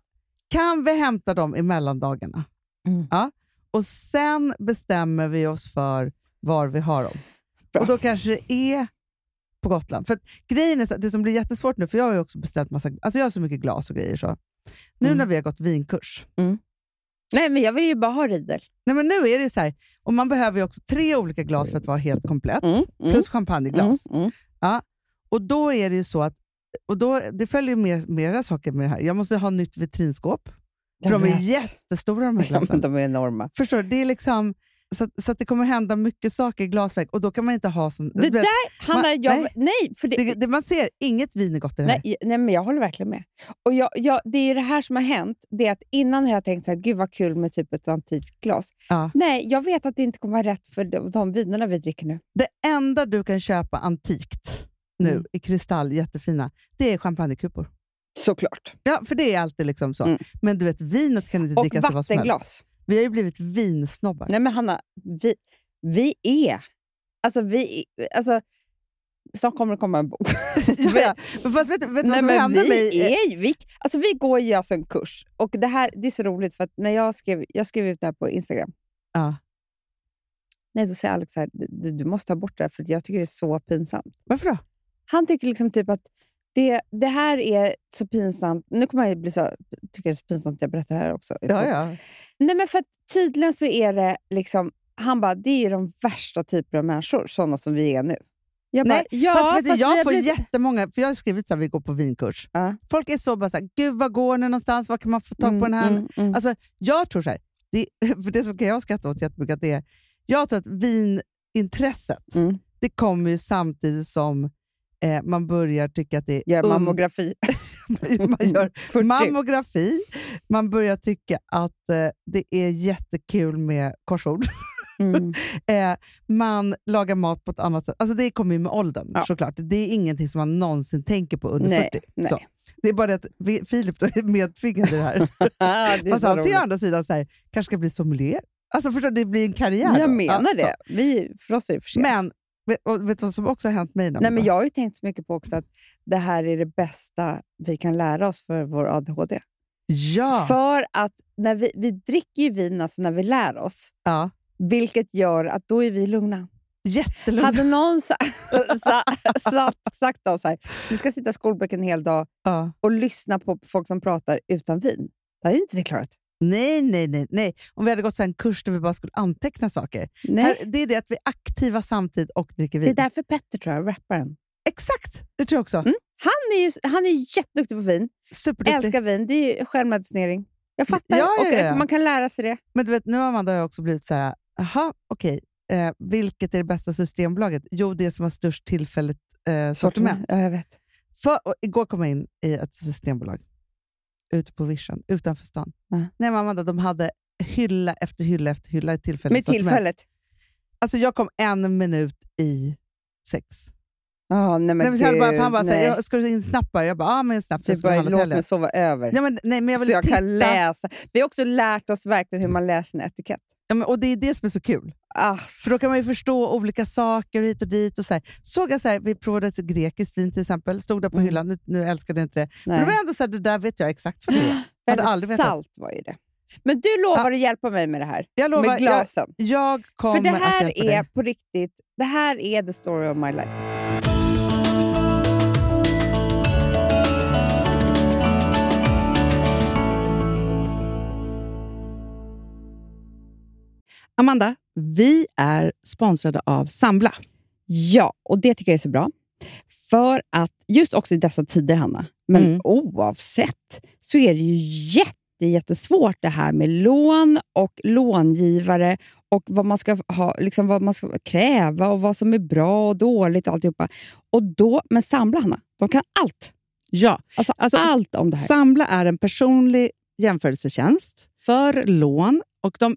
[SPEAKER 7] kan vi hämta dem i mellandagarna?
[SPEAKER 6] Mm.
[SPEAKER 7] Ja, och sen bestämmer vi oss för var vi har dem.
[SPEAKER 6] Bra.
[SPEAKER 7] Och då kanske det är på Gotland. För att grejen är så, här, det som blir jättesvårt nu, för jag har ju också beställt massa, alltså jag har så mycket glas och grejer. så. Nu
[SPEAKER 6] Mm.
[SPEAKER 7] när vi har gått vinkurs.
[SPEAKER 6] Nej, men jag vill ju bara ha ridel.
[SPEAKER 7] Nej, men nu är det så här, och man behöver ju också tre olika glas för att vara helt komplett.
[SPEAKER 6] Mm,
[SPEAKER 7] Plus champagneglas. Och då är det ju så att och då, det följer mer, mera saker med det här. Jag måste ha nytt vitrinskåp. För de är jättestora de här
[SPEAKER 6] Ja, men
[SPEAKER 7] glasen.
[SPEAKER 6] de är enorma.
[SPEAKER 7] Förstår du? Det är liksom, så, att- så att det kommer hända mycket saker i glasväg och då kan man inte ha sån...
[SPEAKER 6] Det
[SPEAKER 7] du vet,
[SPEAKER 6] där, Hanna,
[SPEAKER 7] man-
[SPEAKER 6] jag...
[SPEAKER 7] nej.
[SPEAKER 6] Nej, för det,
[SPEAKER 7] det, det, man ser inget vin är gott i det här.
[SPEAKER 6] Nej, nej, men jag håller verkligen med. Och jag, jag, det är ju det här som har hänt. Det är att innan har jag tänkt så här, gud vad kul med typ ett antikt glas.
[SPEAKER 7] Ja.
[SPEAKER 6] Nej, jag vet att det inte kommer vara rätt för de, de vinerna vi dricker nu.
[SPEAKER 7] Det enda du kan köpa antikt nu
[SPEAKER 6] Mm.
[SPEAKER 7] i kristall, jättefina, det är champagnekupor.
[SPEAKER 6] Såklart.
[SPEAKER 7] Ja, för det är alltid liksom så.
[SPEAKER 6] Mm.
[SPEAKER 7] Men du vet, vinet kan inte
[SPEAKER 6] Och
[SPEAKER 7] drickas till vad som helst.
[SPEAKER 6] vattenglas.
[SPEAKER 7] Vi har ju blivit vinsnobbar.
[SPEAKER 6] Nej men Hanna, vi, vi är... Alltså vi... Alltså, snart kommer det komma en bok.
[SPEAKER 7] Ja, *laughs* ja. Men Fast vet, du- vet du vad
[SPEAKER 6] Nej,
[SPEAKER 7] som
[SPEAKER 6] men
[SPEAKER 7] hände mig?
[SPEAKER 6] vi, är, ju- vi, alltså, vi går ju alltså en kurs. Och det här det är så roligt för att när jag skrev, jag skrev ut det här på Instagram.
[SPEAKER 7] Ja.
[SPEAKER 6] Nej, då säger Alex så här, du, du måste ta bort det här för jag tycker det är så pinsamt.
[SPEAKER 7] Varför då?
[SPEAKER 6] Han tycker liksom typ att det, det här är så pinsamt. Nu kommer jag ju bli så, tycker det är så pinsamt att jag berättar det här också.
[SPEAKER 7] Ja, ja.
[SPEAKER 6] Nej, men för att tydligen så är det liksom, han bara, det är ju de värsta typer av människor, sådana som vi är nu. Jag bara,
[SPEAKER 7] Nej,
[SPEAKER 6] ja,
[SPEAKER 7] fast vet du,
[SPEAKER 6] fast vi
[SPEAKER 7] jag
[SPEAKER 6] har
[SPEAKER 7] får
[SPEAKER 6] blivit-
[SPEAKER 7] jättemånga, för jag har skrivit så här, vi går på vinkurs.
[SPEAKER 6] Ja.
[SPEAKER 7] Folk är så bara så här, gud vad går ni någonstans, var kan man få tag på den här?
[SPEAKER 6] Mm, mm, mm.
[SPEAKER 7] Alltså, jag tror så här, det, *laughs* för det som kan jag skratta åt jättemycket, att det är, jag tror att vinintresset,
[SPEAKER 6] Mm.
[SPEAKER 7] det kommer ju samtidigt som eh, man börjar tycka att det är...
[SPEAKER 6] Gör
[SPEAKER 7] un-
[SPEAKER 6] mammografi. *laughs*
[SPEAKER 7] *laughs* man gör
[SPEAKER 6] 40.
[SPEAKER 7] mammografi, man börjar tycka att eh, det är jättekul med korsord.
[SPEAKER 6] Mm.
[SPEAKER 7] Eh, man lagar mat på ett annat sätt. Alltså det kommer ju med åldern
[SPEAKER 6] Ja.
[SPEAKER 7] såklart. Det är ingenting som man någonsin tänker på under
[SPEAKER 6] Nej,
[SPEAKER 7] 40.
[SPEAKER 6] nej.
[SPEAKER 7] Så. Det är bara det att vi- Filip då är medtvingad i det här. *laughs*
[SPEAKER 6] Ja, *laughs* det är
[SPEAKER 7] Fast
[SPEAKER 6] så
[SPEAKER 7] han ser
[SPEAKER 6] roligt.
[SPEAKER 7] å andra sidan så här, kanske ska bli sommelier. Alltså förstår du, det blir en karriär.
[SPEAKER 6] Jag
[SPEAKER 7] då.
[SPEAKER 6] menar
[SPEAKER 7] Ja, så.
[SPEAKER 6] det. Vi, för oss är det för sent.
[SPEAKER 7] Men vet, och vet du vad som också har hänt mig?
[SPEAKER 6] Nej, men jag har ju tänkt så mycket på också att det här är det bästa vi kan lära oss för vår ADHD.
[SPEAKER 7] Ja,
[SPEAKER 6] För att när vi, vi dricker ju vin alltså när vi lär oss.
[SPEAKER 7] ja.
[SPEAKER 6] Vilket gör att då är vi lugna.
[SPEAKER 7] Jättelugnt.
[SPEAKER 6] Hade någon
[SPEAKER 7] *laughs*
[SPEAKER 6] sa, *laughs* sa, sagt, sagt av så här, ni ska sitta i skolbänken en hel dag
[SPEAKER 7] Ja.
[SPEAKER 6] och lyssna på folk som pratar utan vin. Det hade inte vi klarat.
[SPEAKER 7] Nej, nej, nej, nej. Om vi hade gått så här en kurs där vi bara skulle anteckna saker.
[SPEAKER 6] Nej.
[SPEAKER 7] Här, det är det att vi är aktiva samtidigt och dricker
[SPEAKER 6] det är
[SPEAKER 7] vin.
[SPEAKER 6] därför Petter, tror jag, rapparen.
[SPEAKER 7] Exakt! Det tror jag också.
[SPEAKER 6] Mm. Han är, ju, han är jätteduktig på vin.
[SPEAKER 7] Superduktig.
[SPEAKER 6] Älskar vin. Det är ju självmedicinering. Jag fattar.
[SPEAKER 7] Ja, ja,
[SPEAKER 6] och,
[SPEAKER 7] ja.
[SPEAKER 6] att Man kan lära sig det.
[SPEAKER 7] Men du vet, nu Amanda har jag också blivit så här, aha, okej. Eh, vilket är det bästa Systembolaget? Jo, det som har störst tillfälligt eh, sortiment.
[SPEAKER 6] Ja, jag vet.
[SPEAKER 7] För, och igår kom jag in i ett systembolag ute på vischan, utanför stan.
[SPEAKER 6] Mm.
[SPEAKER 7] Nej, men Amanda, de hade hylla efter hylla efter hylla i tillfälligt
[SPEAKER 6] Med
[SPEAKER 7] sortiment.
[SPEAKER 6] tillfället.
[SPEAKER 7] Alltså, jag kom en minut i sex.
[SPEAKER 6] Ja, nej, men
[SPEAKER 7] nej, men så här,
[SPEAKER 6] gud,
[SPEAKER 7] bara, för han bara, så här,
[SPEAKER 6] nej.
[SPEAKER 7] "Ja, ska du in snabbare? Jag bara, ja ah, men snabbt. jag
[SPEAKER 6] Typ
[SPEAKER 7] ska bara,
[SPEAKER 6] bara,
[SPEAKER 7] handla
[SPEAKER 6] låt
[SPEAKER 7] till
[SPEAKER 6] mig
[SPEAKER 7] helgen."
[SPEAKER 6] sova över.
[SPEAKER 7] nej, men, nej, men jag vill
[SPEAKER 6] så jag
[SPEAKER 7] titta.
[SPEAKER 6] kan läsa. Vi har också lärt oss verkligen hur man läser en etikett.
[SPEAKER 7] Ja, men, och det är det som är så kul.
[SPEAKER 6] Ah,
[SPEAKER 7] För då kan man ju förstå olika saker hit och dit. Och så här. Såg jag så här, vi provade ett grekiskt vin till exempel, stod där på
[SPEAKER 6] Mm.
[SPEAKER 7] hyllan, nu, nu älskade jag inte det. Men
[SPEAKER 6] nej.
[SPEAKER 7] det var ändå så här, det där vet jag
[SPEAKER 6] *gasps*
[SPEAKER 7] exakt vad det är. Jag hade
[SPEAKER 6] Väldigt
[SPEAKER 7] aldrig vetat.
[SPEAKER 6] salt var ju det. Men du lovar att hjälpa mig med det här.
[SPEAKER 7] Jag lovar,
[SPEAKER 6] med
[SPEAKER 7] jag,
[SPEAKER 6] glasen.
[SPEAKER 7] jag kommer
[SPEAKER 6] För det
[SPEAKER 7] att
[SPEAKER 6] här
[SPEAKER 7] hjälpa
[SPEAKER 6] är
[SPEAKER 7] dig.
[SPEAKER 6] på riktigt, det här är the story of my life.
[SPEAKER 7] Amanda, vi är sponsrade av Sambla.
[SPEAKER 6] Ja, och det tycker jag är så bra. För att, just också i dessa tider Hanna, men
[SPEAKER 7] Mm.
[SPEAKER 6] oavsett så är det ju jätte, jättesvårt det här med lån och långivare och vad man ska ha, liksom vad man ska kräva och vad som är bra och dåligt och alltihopa. Och då, men Samla Hanna, de kan allt.
[SPEAKER 7] Ja,
[SPEAKER 6] Alltså,
[SPEAKER 7] Alltså,
[SPEAKER 6] allt om det här.
[SPEAKER 7] Sambla är en personlig jämförelsetjänst för lån. Och De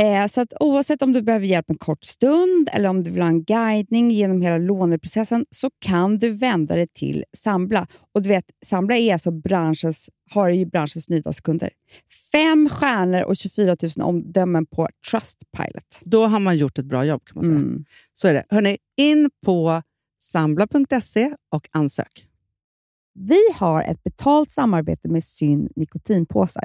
[SPEAKER 6] Eh, så att oavsett om du behöver hjälp en kort stund eller om du vill ha en guidning genom hela låneprocessen så kan du vända dig till Sambla. Och du vet, Sambla är alltså branschens, har ju branschens nyaste kunder. Fem stjärnor och 24 000 omdömen på Trustpilot.
[SPEAKER 7] Då har man gjort ett bra jobb. kan man säga.
[SPEAKER 6] Mm.
[SPEAKER 7] Så är det. Hörrni, in på sambla.se E och ansök.
[SPEAKER 6] Vi har ett betalt samarbete med Syn nikotinpåsar.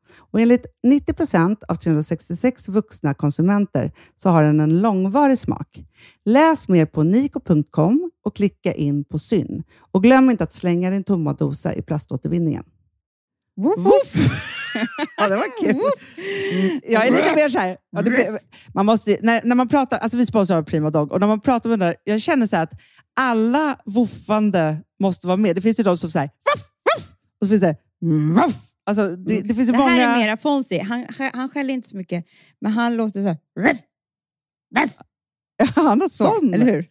[SPEAKER 7] Och enligt 90 procent av 366 vuxna konsumenter så har den en långvarig smak. Läs mer på niko.com och klicka in på Syn. Och glöm inte att slänga din tomma dosa i plaståtervinningen.
[SPEAKER 6] Woof,
[SPEAKER 7] Ja, det var kul. Mm. Jag är lite mer så här. Ja, det, man måste, när, när man pratar, alltså vi sponsrar av Prima Dog och när man pratar med den där, jag känner så här att alla woffande måste vara med. Det finns ju de som säger voff, voff, och så finns det voff. Alltså, det, det finns ju
[SPEAKER 6] Det
[SPEAKER 7] många...
[SPEAKER 6] här är
[SPEAKER 7] *laughs*
[SPEAKER 6] mera Fonzie. Han, han skäller inte så mycket, men han låter så här... Ruff, ruff,
[SPEAKER 7] Han har
[SPEAKER 6] så,
[SPEAKER 7] sån.
[SPEAKER 6] eller hur?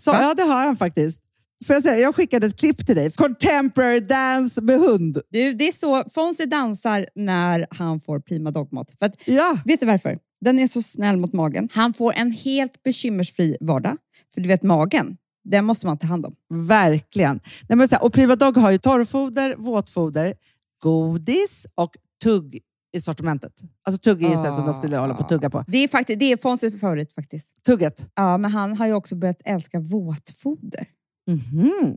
[SPEAKER 7] Så,
[SPEAKER 6] Va?
[SPEAKER 7] ja, det har han faktiskt. Får jag, säga, jag skickade ett klipp till dig. Contemporary dance med hund.
[SPEAKER 6] Du, det är så Fonzie dansar när han får prima dogmat. För att
[SPEAKER 7] Ja,
[SPEAKER 6] Vet du varför? Den är så snäll mot magen. Han får en helt bekymmersfri vardag. För du vet, magen, den måste man ta hand om.
[SPEAKER 7] verkligen. Nej, men så här, och Prima Dog har ju torrfoder, våtfoder, godis och tugg i sortimentet. Alltså tugg är ju sånt som de skulle hålla på och tugga på.
[SPEAKER 6] Det är, faktiskt, det är Fonzies favorit faktiskt.
[SPEAKER 7] Tugget.
[SPEAKER 6] Ja, men han har ju också börjat älska våtfoder.
[SPEAKER 7] Mhm.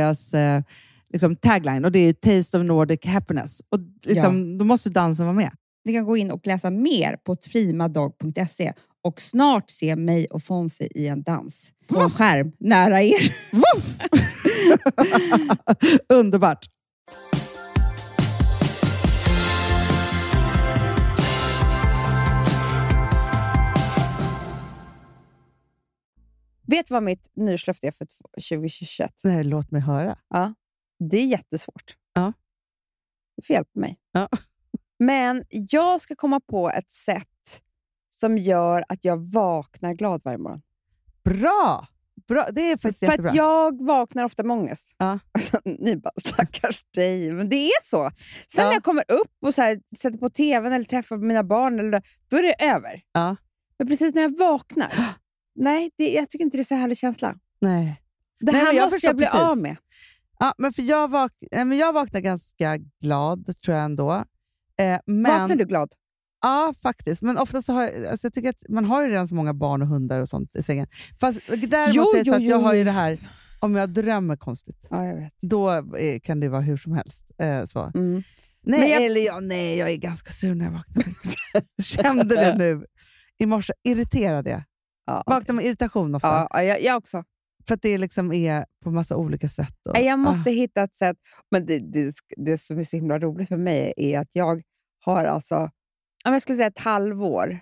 [SPEAKER 7] deras eh, liksom tagline och det är ju Taste of Nordic Happiness. Och liksom, Då måste dansen vara med.
[SPEAKER 6] Ni kan gå in och läsa mer på trimadog.se
[SPEAKER 2] och snart se mig och Fonzie i en dans på en skärm nära er.
[SPEAKER 7] Underbart.
[SPEAKER 6] *laughs* Vet du vad mitt nyårslöfte är för t- 2021?
[SPEAKER 7] Nej, låt mig höra.
[SPEAKER 6] Det är jättesvårt.
[SPEAKER 7] Ja.
[SPEAKER 6] Du får hjälpa mig.
[SPEAKER 7] Ja.
[SPEAKER 6] *laughs* Men jag ska komma på ett sätt som gör att jag vaknar glad varje morgon.
[SPEAKER 7] Bra! Bra. Det är faktiskt
[SPEAKER 6] För
[SPEAKER 7] jättebra.
[SPEAKER 6] att jag vaknar ofta med ångest.
[SPEAKER 7] Ja.
[SPEAKER 6] Alltså, ni bara, *laughs* stackars dig. Men det är så. Sen
[SPEAKER 7] Ja.
[SPEAKER 6] när jag kommer upp och så här, sätter på tvn eller träffar mina barn, eller, det- då är det över.
[SPEAKER 7] Ja.
[SPEAKER 6] Men precis när jag
[SPEAKER 7] *gasps*
[SPEAKER 6] vaknar, nej, det, jag tycker inte det är så härlig känsla.
[SPEAKER 7] Nej.
[SPEAKER 6] Det
[SPEAKER 7] Nej,
[SPEAKER 6] här
[SPEAKER 7] men jag
[SPEAKER 6] måste
[SPEAKER 7] förstår
[SPEAKER 6] jag bli
[SPEAKER 7] precis.
[SPEAKER 6] av med.
[SPEAKER 7] Ja, men för jag, vak eh, men jag vaknar ganska glad, tror jag ändå. Eh, men,
[SPEAKER 6] Vaknar du glad?
[SPEAKER 7] Ja, faktiskt. Men ofta så har jag, alltså jag tycker att man har ju redan så många barn och hundar och sånt i sängen. Fast däremot
[SPEAKER 6] Jo,
[SPEAKER 7] så är det så
[SPEAKER 6] jo,
[SPEAKER 7] att jag
[SPEAKER 6] jo,
[SPEAKER 7] har ju
[SPEAKER 6] jo.
[SPEAKER 7] det här, om jag drömmer konstigt,
[SPEAKER 6] Ja, jag vet.
[SPEAKER 7] då eh, kan det vara hur som helst. Eh, så.
[SPEAKER 6] *laughs* Mm. Men
[SPEAKER 7] Nej,
[SPEAKER 6] jag-
[SPEAKER 7] eller jag, nej, jag är ganska sur när jag vaknar. Jag Kände det nu i morse. Irriterad är jag.
[SPEAKER 6] Ja.
[SPEAKER 7] Vaknar med irritation ofta.
[SPEAKER 6] Ja, ja, jag, jag också.
[SPEAKER 7] För att det liksom är på massa olika sätt. Och,
[SPEAKER 6] Nej, Jag
[SPEAKER 7] Ah.
[SPEAKER 6] måste hitta ett sätt. Men det, det, det som är så himla roligt för mig är att jag har alltså, ja, men jag skulle säga ett halvår.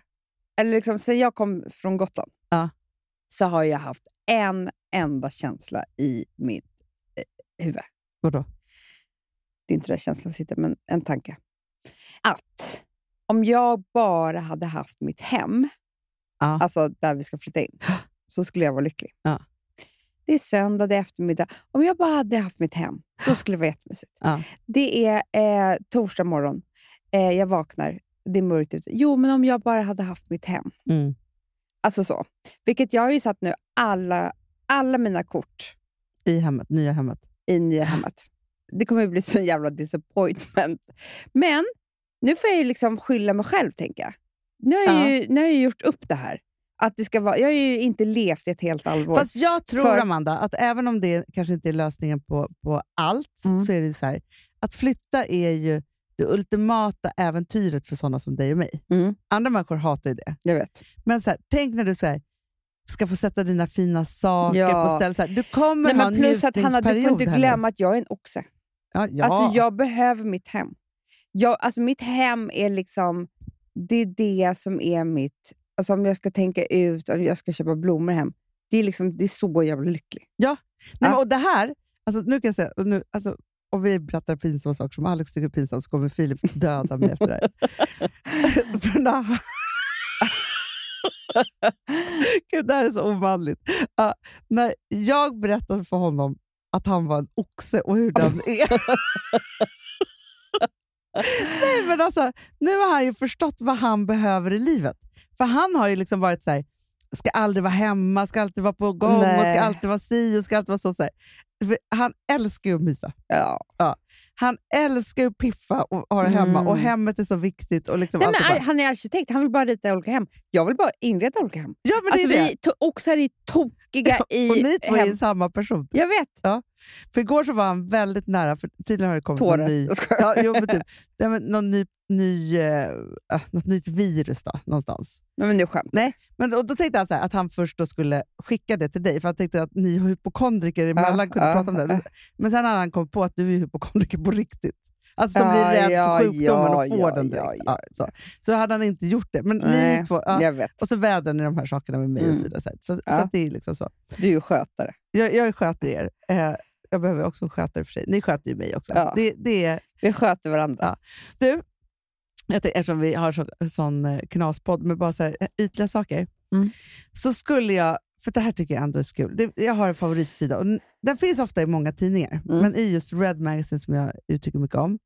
[SPEAKER 6] Eller liksom, sen jag kom från Gotland
[SPEAKER 7] Ja.
[SPEAKER 6] så har jag haft en enda känsla i mitt eh, huvud.
[SPEAKER 7] Vadå?
[SPEAKER 6] Det är inte där känslan sitter, men en tanke. Att om jag bara hade haft mitt hem,
[SPEAKER 7] Ja.
[SPEAKER 6] alltså där vi ska flytta
[SPEAKER 7] *gasps*
[SPEAKER 6] in, så skulle jag vara lycklig.
[SPEAKER 7] Ja.
[SPEAKER 6] Det är söndag, det är eftermiddag. Om jag bara hade haft mitt hem, då skulle det vara jättemysigt.
[SPEAKER 7] Ja.
[SPEAKER 6] Det är eh, torsdag morgon, eh, jag vaknar, det är mörkt ute. Jo, men om jag bara hade haft mitt hem.
[SPEAKER 7] Mm.
[SPEAKER 6] Alltså så. Vilket jag har ju satt nu alla, alla mina kort
[SPEAKER 7] I hemmet, nya hemmet.
[SPEAKER 6] i nya hemmet. Det kommer ju bli så jävla disappointment. Men nu får jag ju liksom skylla mig själv, tänker jag. Nu har jag,
[SPEAKER 7] Ja.
[SPEAKER 6] ju, nu har jag ju gjort upp det här. Att det ska vara, jag har ju inte levt i ett helt halvår.
[SPEAKER 7] Fast jag tror,
[SPEAKER 6] För-
[SPEAKER 7] Amanda, att även om det kanske inte är lösningen på, på allt,
[SPEAKER 6] Mm.
[SPEAKER 7] så är det ju så här, att flytta är ju det ultimata äventyret för sådana som dig och mig.
[SPEAKER 6] Mm.
[SPEAKER 7] Andra människor hatar ju det.
[SPEAKER 6] jag vet.
[SPEAKER 7] Men så här, tänk när du så här, ska få sätta dina fina saker
[SPEAKER 6] Ja.
[SPEAKER 7] på ställen. Så här, du kommer
[SPEAKER 6] Nej,
[SPEAKER 7] ha en
[SPEAKER 6] men plus att Hanna, du får
[SPEAKER 7] njutningsperiod
[SPEAKER 6] inte
[SPEAKER 7] här nu.
[SPEAKER 6] glömma att jag är en oxe.
[SPEAKER 7] Ja, ja.
[SPEAKER 6] Alltså, jag behöver mitt hem. Jag, alltså, mitt hem är liksom... Det är det som är mitt... Alltså, om jag ska tänka ut, om jag ska köpa blommor hem. Det är, liksom, det är så jag blir lycklig.
[SPEAKER 7] Nej,
[SPEAKER 6] Ja.
[SPEAKER 7] men, och det här, alltså, nu kan jag säga, och nu, alltså, om vi berättar pinsamma saker som Alex tycker är pinsamt så kommer Filip döda mig efter det här.
[SPEAKER 6] *laughs*
[SPEAKER 7] För när han- *laughs* Gud, det här är så omanligt. Ja, när jag berättade för honom att han var en oxe och
[SPEAKER 6] *laughs*
[SPEAKER 7] hur den är. Nej, men alltså, nu har han ju förstått vad han behöver i livet. För han har ju liksom varit så här, ska aldrig vara hemma, ska alltid vara på gång, och
[SPEAKER 6] Nej.
[SPEAKER 7] ska alltid vara si och ska alltid vara så. så här. För Han älskar ju att mysa.
[SPEAKER 6] Ja.
[SPEAKER 7] Han älskar ju att piffa och ha det hemma.
[SPEAKER 6] Mm.
[SPEAKER 7] Och hemmet är så viktigt. Och liksom
[SPEAKER 6] Nej,
[SPEAKER 7] allt
[SPEAKER 6] men,
[SPEAKER 7] *laughs* det
[SPEAKER 6] ar-
[SPEAKER 7] bara.
[SPEAKER 6] han är arkitekt, han vill bara rita olika hem. Jag vill bara inreda olika hem.
[SPEAKER 7] Ja, men det
[SPEAKER 6] alltså,
[SPEAKER 7] är det.
[SPEAKER 6] vi to- oxar är
[SPEAKER 7] *laughs*
[SPEAKER 6] tokiga i
[SPEAKER 7] och ni två är
[SPEAKER 6] hem.
[SPEAKER 7] ju samma person.
[SPEAKER 6] Jag vet,
[SPEAKER 7] För igår så var han väldigt nära, för tydligen har det kommit någon
[SPEAKER 6] tårar.
[SPEAKER 7] ny,
[SPEAKER 6] Jag skojar.
[SPEAKER 7] ja, jo, men typ, nej, men någon ny, ny, eh, ah, något nytt virus då, någonstans.
[SPEAKER 6] Nej, men nu skämt.
[SPEAKER 7] Nej, men då, då tänkte han så här, att han först då skulle skicka det till dig, för han tänkte att ni hypokondriker emellan kunde
[SPEAKER 6] ja,
[SPEAKER 7] prata om det. Men- Men sen hade han kommit på att du är hypokondriker på riktigt. Alltså som
[SPEAKER 6] Ja,
[SPEAKER 7] blir rädd
[SPEAKER 6] ja,
[SPEAKER 7] för sjukdomen
[SPEAKER 6] ja,
[SPEAKER 7] och får
[SPEAKER 6] ja,
[SPEAKER 7] den direkt.
[SPEAKER 6] ja,
[SPEAKER 7] Ja,
[SPEAKER 6] ja,
[SPEAKER 7] så. så hade han inte gjort det. Men ni
[SPEAKER 6] Nej,
[SPEAKER 7] två, ja.
[SPEAKER 6] Jag vet,
[SPEAKER 7] Och så vädrar ni de här sakerna med mig och så
[SPEAKER 6] Mm.
[SPEAKER 7] vidare. Så, så,
[SPEAKER 6] Ja.
[SPEAKER 7] så att det är liksom så.
[SPEAKER 6] du är ju skötare.
[SPEAKER 7] Jag, jag sköter er. Eh, jag behöver också en skötare för sig. Ni sköter ju mig också.
[SPEAKER 6] Ja.
[SPEAKER 7] Det, det är,
[SPEAKER 6] Vi sköter varandra.
[SPEAKER 7] Ja. du, jag tänkte, eftersom vi har sån, sån eh, knaspodd med bara så här, eh, ytliga saker,
[SPEAKER 6] Mm.
[SPEAKER 7] så skulle jag, för det här tycker jag ändå är så kul. Det, jag har en favoritsida och n- den finns ofta i många tidningar,
[SPEAKER 6] Mm.
[SPEAKER 7] men i just Red Magazine som jag ju tycker mycket om,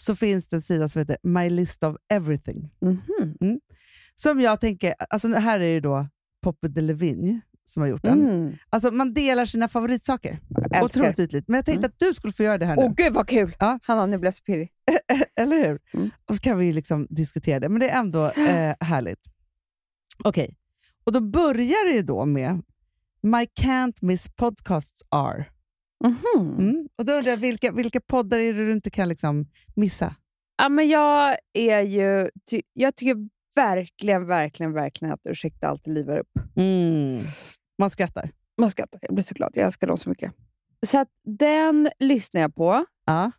[SPEAKER 7] så finns det en sida som heter My List of Everything. Mm.
[SPEAKER 6] Mhm.
[SPEAKER 7] Som jag tänker, alltså det här är ju då Poppe de Levin som har gjort den.
[SPEAKER 6] Mm.
[SPEAKER 7] Alltså man delar sina favoritsaker.
[SPEAKER 6] Jag älskar.
[SPEAKER 7] Otroligt ytligt. Men jag tänkte
[SPEAKER 6] Mm.
[SPEAKER 7] att du skulle få göra det här nu.
[SPEAKER 6] Åh gud vad kul!
[SPEAKER 7] Ja.
[SPEAKER 6] Hanna, nu blir jag så pirrig.
[SPEAKER 7] *laughs* Eller hur?
[SPEAKER 6] Mm.
[SPEAKER 7] Och så kan vi ju liksom diskutera det. Men det är ändå eh, härligt. Okej. Och då börjar det ju då med My Can't Miss Podcasts Are.
[SPEAKER 6] Mhm.
[SPEAKER 7] Mm. Och då undrar jag, vilka, vilka poddar är det du inte kan liksom missa?
[SPEAKER 6] Ja, men jag är ju... Ty, jag tycker verkligen, verkligen, verkligen att ursäkta allt livar upp.
[SPEAKER 7] Mm. Man skrattar.
[SPEAKER 6] Man skrattar. Jag blir så glad. Jag älskar dem så mycket. Så att den lyssnar jag på
[SPEAKER 7] Ja.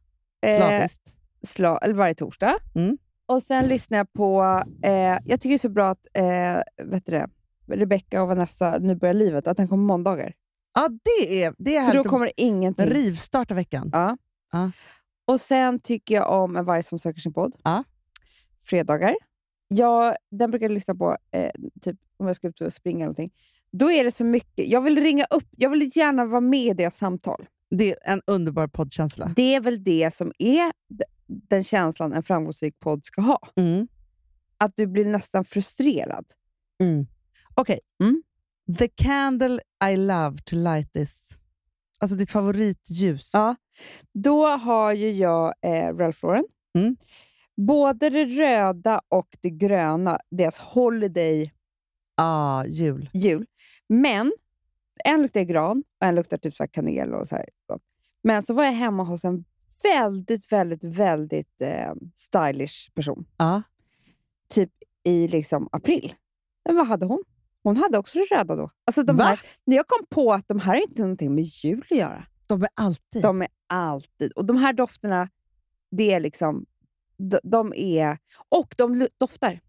[SPEAKER 6] Eh,
[SPEAKER 7] Slaviskt.
[SPEAKER 6] sla, eller varje torsdag.
[SPEAKER 7] Mm.
[SPEAKER 6] Och sen lyssnar jag på... Eh, jag tycker det är så bra att eh, vet du det, Rebecca och Vanessa, Nu börjar livet, att den kommer måndagar.
[SPEAKER 7] ja, det är, det är
[SPEAKER 6] För då
[SPEAKER 7] härligt.
[SPEAKER 6] kommer det ingenting.
[SPEAKER 7] Rivstart av veckan.
[SPEAKER 6] Ja.
[SPEAKER 7] Ja.
[SPEAKER 6] Och sen tycker jag om En varg som söker sin podd.
[SPEAKER 7] Ja.
[SPEAKER 6] Fredagar. Jag, den brukar jag lyssna på eh, typ, om jag ska ut och springa eller någonting. Då är det så mycket. Jag vill ringa upp. Jag vill gärna vara med i deras samtal.
[SPEAKER 7] Det är en underbar poddkänsla.
[SPEAKER 6] Det är väl det som är d- den känslan en framgångsrik podd ska ha.
[SPEAKER 7] Mm.
[SPEAKER 6] Att du blir nästan frustrerad.
[SPEAKER 7] Okej.
[SPEAKER 6] Mm.
[SPEAKER 7] The candle I love to light this. Alltså ditt favoritljus.
[SPEAKER 6] Ja. Då har ju jag eh, Ralph Lauren.
[SPEAKER 7] Mm.
[SPEAKER 6] Både det röda och det gröna, deras Holiday
[SPEAKER 7] Ah, jul.
[SPEAKER 6] jul. Men en luktar gran och en luktar typ så här kanel. och så här. Men så var jag hemma hos en väldigt, väldigt, väldigt eh, stylish person.
[SPEAKER 7] Ja.
[SPEAKER 6] Typ i liksom april. Men vad hade hon? Hon hade också det röda då. Alltså de
[SPEAKER 7] Va?
[SPEAKER 6] här, när jag kom på att de här är inte någonting med jul att göra.
[SPEAKER 7] De är alltid...
[SPEAKER 6] De är alltid... Och de här dofterna, det är liksom... De, de är... Och de lu- doftar.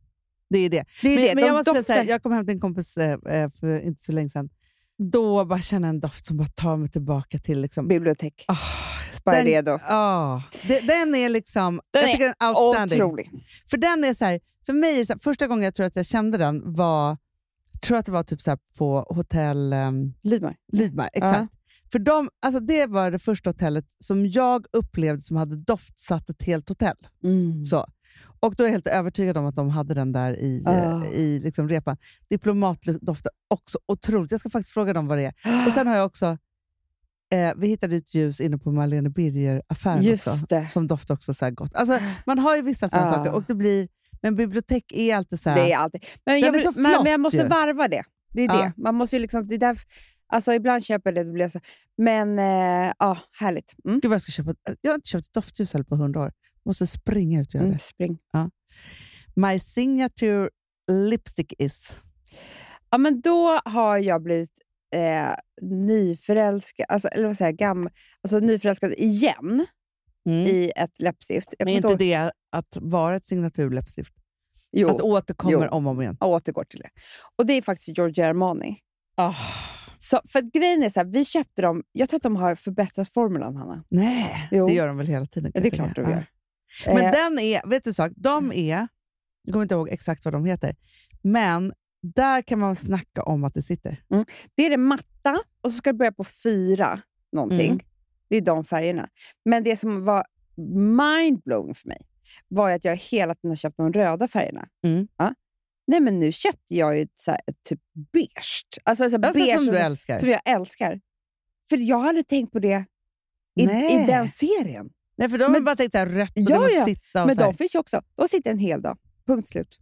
[SPEAKER 7] Det är det.
[SPEAKER 6] Det är
[SPEAKER 7] Men,
[SPEAKER 6] det.
[SPEAKER 7] men
[SPEAKER 6] de
[SPEAKER 7] jag måste säga
[SPEAKER 6] doftar.
[SPEAKER 7] så här, jag kom hem till en kompis eh, eh, för inte så länge sedan. Då bara kände jag en doft som bara tar mig tillbaka till... Liksom,
[SPEAKER 6] Bibliotek.
[SPEAKER 7] Ah,
[SPEAKER 6] Bara
[SPEAKER 7] den,
[SPEAKER 6] redo.
[SPEAKER 7] ah, de- den är liksom...
[SPEAKER 6] Den
[SPEAKER 7] jag
[SPEAKER 6] är
[SPEAKER 7] tycker den är outstanding.
[SPEAKER 6] Otrolig.
[SPEAKER 7] För den är så här, för mig är det så här, första gången jag tror att jag kände den var, jag tror att det var typ så här på hotell um,
[SPEAKER 6] Lydmar.
[SPEAKER 7] Lidmar. Exakt. För de, alltså det var det första hotellet som jag upplevde som hade doftsatt ett helt hotell. Så. Och då är jag helt övertygad om att de hade den där i,
[SPEAKER 6] Ah.
[SPEAKER 7] eh, i liksom repan. Diplomat doftar också otroligt. Jag ska faktiskt fråga dem vad det är. Och Sen har jag också, eh, vi hittade ett ljus inne på Marlene Birger-affären
[SPEAKER 6] Just
[SPEAKER 7] också,
[SPEAKER 6] det.
[SPEAKER 7] som doftar också så här gott. Alltså, man har ju vissa sådana
[SPEAKER 6] Ah.
[SPEAKER 7] saker, och det blir, men bibliotek är alltid så här...
[SPEAKER 6] Det är alltid. Men
[SPEAKER 7] Den
[SPEAKER 6] jag,
[SPEAKER 7] är
[SPEAKER 6] vill-
[SPEAKER 7] så
[SPEAKER 6] men,
[SPEAKER 7] flott
[SPEAKER 6] men jag måste
[SPEAKER 7] ju.
[SPEAKER 6] varva det. Det är
[SPEAKER 7] Ja.
[SPEAKER 6] det. Man måste ju liksom, det är därför, alltså ibland köper jag det, då blir jag så. Men eh, ja, härligt. Mm.
[SPEAKER 7] Gud vad jag ska köpa. Jag har inte köpt ett doftljus heller på hundra år. Måste springa ut och göra
[SPEAKER 6] Mm, spring.
[SPEAKER 7] det. My signature lipstick is...
[SPEAKER 6] Ja, men då har jag blivit eh, nyförälskad, alltså, eller vad säger jag, gam, alltså nyförälskad igen i ett läppstift. Jag
[SPEAKER 7] Mm. Men
[SPEAKER 6] kommer
[SPEAKER 7] inte
[SPEAKER 6] ihåg-
[SPEAKER 7] det att vara ett signaturläppstift?
[SPEAKER 6] Jo,
[SPEAKER 7] Att återkommer
[SPEAKER 6] Jo.
[SPEAKER 7] om och om igen?
[SPEAKER 6] jag återgår till det. Och det är faktiskt Giorgio Armani.
[SPEAKER 7] Ah.
[SPEAKER 6] Så, för att grejen är så här, vi köpte dem, jag tror att de har förbättrat formulan, Hanna.
[SPEAKER 7] Nej,
[SPEAKER 6] Jo.
[SPEAKER 7] det gör de väl hela tiden?
[SPEAKER 6] Ja,
[SPEAKER 7] kan
[SPEAKER 6] det är
[SPEAKER 7] jag
[SPEAKER 6] klart
[SPEAKER 7] tycka.
[SPEAKER 6] de gör.
[SPEAKER 7] Ja. Men
[SPEAKER 6] Eh, Mm.
[SPEAKER 7] den är, vet du en sak? De är, jag kommer inte ihåg exakt vad de heter, men där kan man snacka om att det sitter.
[SPEAKER 6] Det är det matta och så ska det börja på fyra någonting.
[SPEAKER 7] Mm.
[SPEAKER 6] Det är de färgerna. Men det som var mindblowing för mig var ju att jag hela tiden har köpt de röda färgerna.
[SPEAKER 7] Mm.
[SPEAKER 6] Ja. Nej, men nu köpte jag ju ett, så här, ett typ beige. Alltså, så här,
[SPEAKER 7] Alltså,
[SPEAKER 6] beige
[SPEAKER 7] som
[SPEAKER 6] och
[SPEAKER 7] du
[SPEAKER 6] så-
[SPEAKER 7] älskar.
[SPEAKER 6] som jag älskar. För jag hade tänkt på det i,
[SPEAKER 7] Nej.
[SPEAKER 6] i den serien.
[SPEAKER 7] Nej, för de har
[SPEAKER 6] Men-
[SPEAKER 7] bara tänkt så här rött och
[SPEAKER 6] Ja,
[SPEAKER 7] det måste
[SPEAKER 6] ja.
[SPEAKER 7] sitta. Och,
[SPEAKER 6] men
[SPEAKER 7] så här.
[SPEAKER 6] de finns ju också. De sitter en hel dag. Punkt slut.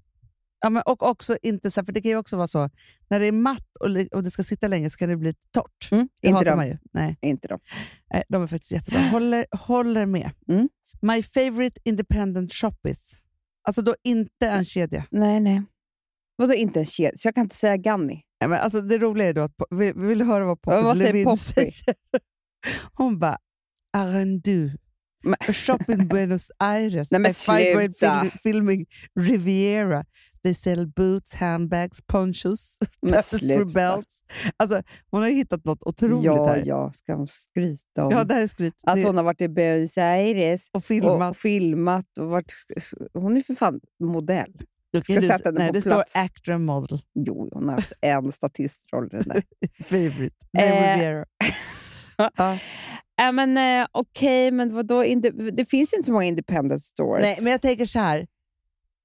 [SPEAKER 7] Ja, men, och också inte så här, för det kan ju också vara så, när det är matt och, li- och det ska sitta länge så kan det bli torrt. Det
[SPEAKER 6] Mm, Inte
[SPEAKER 7] Mm, hatar
[SPEAKER 6] de.
[SPEAKER 7] man ju. Nej,
[SPEAKER 6] Inte de.
[SPEAKER 7] nej, de är
[SPEAKER 6] *gasps*
[SPEAKER 7] faktiskt jättebra. Håller, håller med.
[SPEAKER 6] Mm.
[SPEAKER 7] My favorite independent shop is. Alltså då inte en kedja.
[SPEAKER 6] Nej, nej. Vadå inte en kedja? Så jag kan inte säga Ganni.
[SPEAKER 7] Nej, men alltså, det roliga är då att po- vi, vi vill höra vad Poppy
[SPEAKER 6] Vad säger
[SPEAKER 7] Levin
[SPEAKER 6] Poppy?
[SPEAKER 7] säger. Hon bara, Arendu.
[SPEAKER 6] Men-
[SPEAKER 7] A shop in Buenos Aires.
[SPEAKER 6] Nej, men
[SPEAKER 7] a five-grade
[SPEAKER 6] sluta.
[SPEAKER 7] fil- filming Riviera. They sell boots, handbags, ponchos, *laughs*
[SPEAKER 6] Men
[SPEAKER 7] tapestry
[SPEAKER 6] sluta.
[SPEAKER 7] belts. Alltså, hon har ju hittat något otroligt
[SPEAKER 6] Ja,
[SPEAKER 7] här.
[SPEAKER 6] ja, ska hon skryta om.
[SPEAKER 7] Ja, det här är skryt.
[SPEAKER 6] Att
[SPEAKER 7] Det-
[SPEAKER 6] hon har varit i Buenos Aires
[SPEAKER 7] och
[SPEAKER 6] och,
[SPEAKER 7] filmat.
[SPEAKER 6] och filmat. Och varit, hon är för fan modell.
[SPEAKER 7] Du
[SPEAKER 6] ska
[SPEAKER 7] kan ju-
[SPEAKER 6] sätta henne
[SPEAKER 7] nej,
[SPEAKER 6] på
[SPEAKER 7] det
[SPEAKER 6] plats.
[SPEAKER 7] står actor and model.
[SPEAKER 6] Jo, hon har haft en statistroll i den där.
[SPEAKER 7] Favorite.
[SPEAKER 6] Eh,
[SPEAKER 7] Eh. Riviera. *laughs* Ja.
[SPEAKER 6] Äh, men, eh, Okej, men vadå? Inde- det finns inte så många independent stores.
[SPEAKER 7] Nej, men jag tänker så här.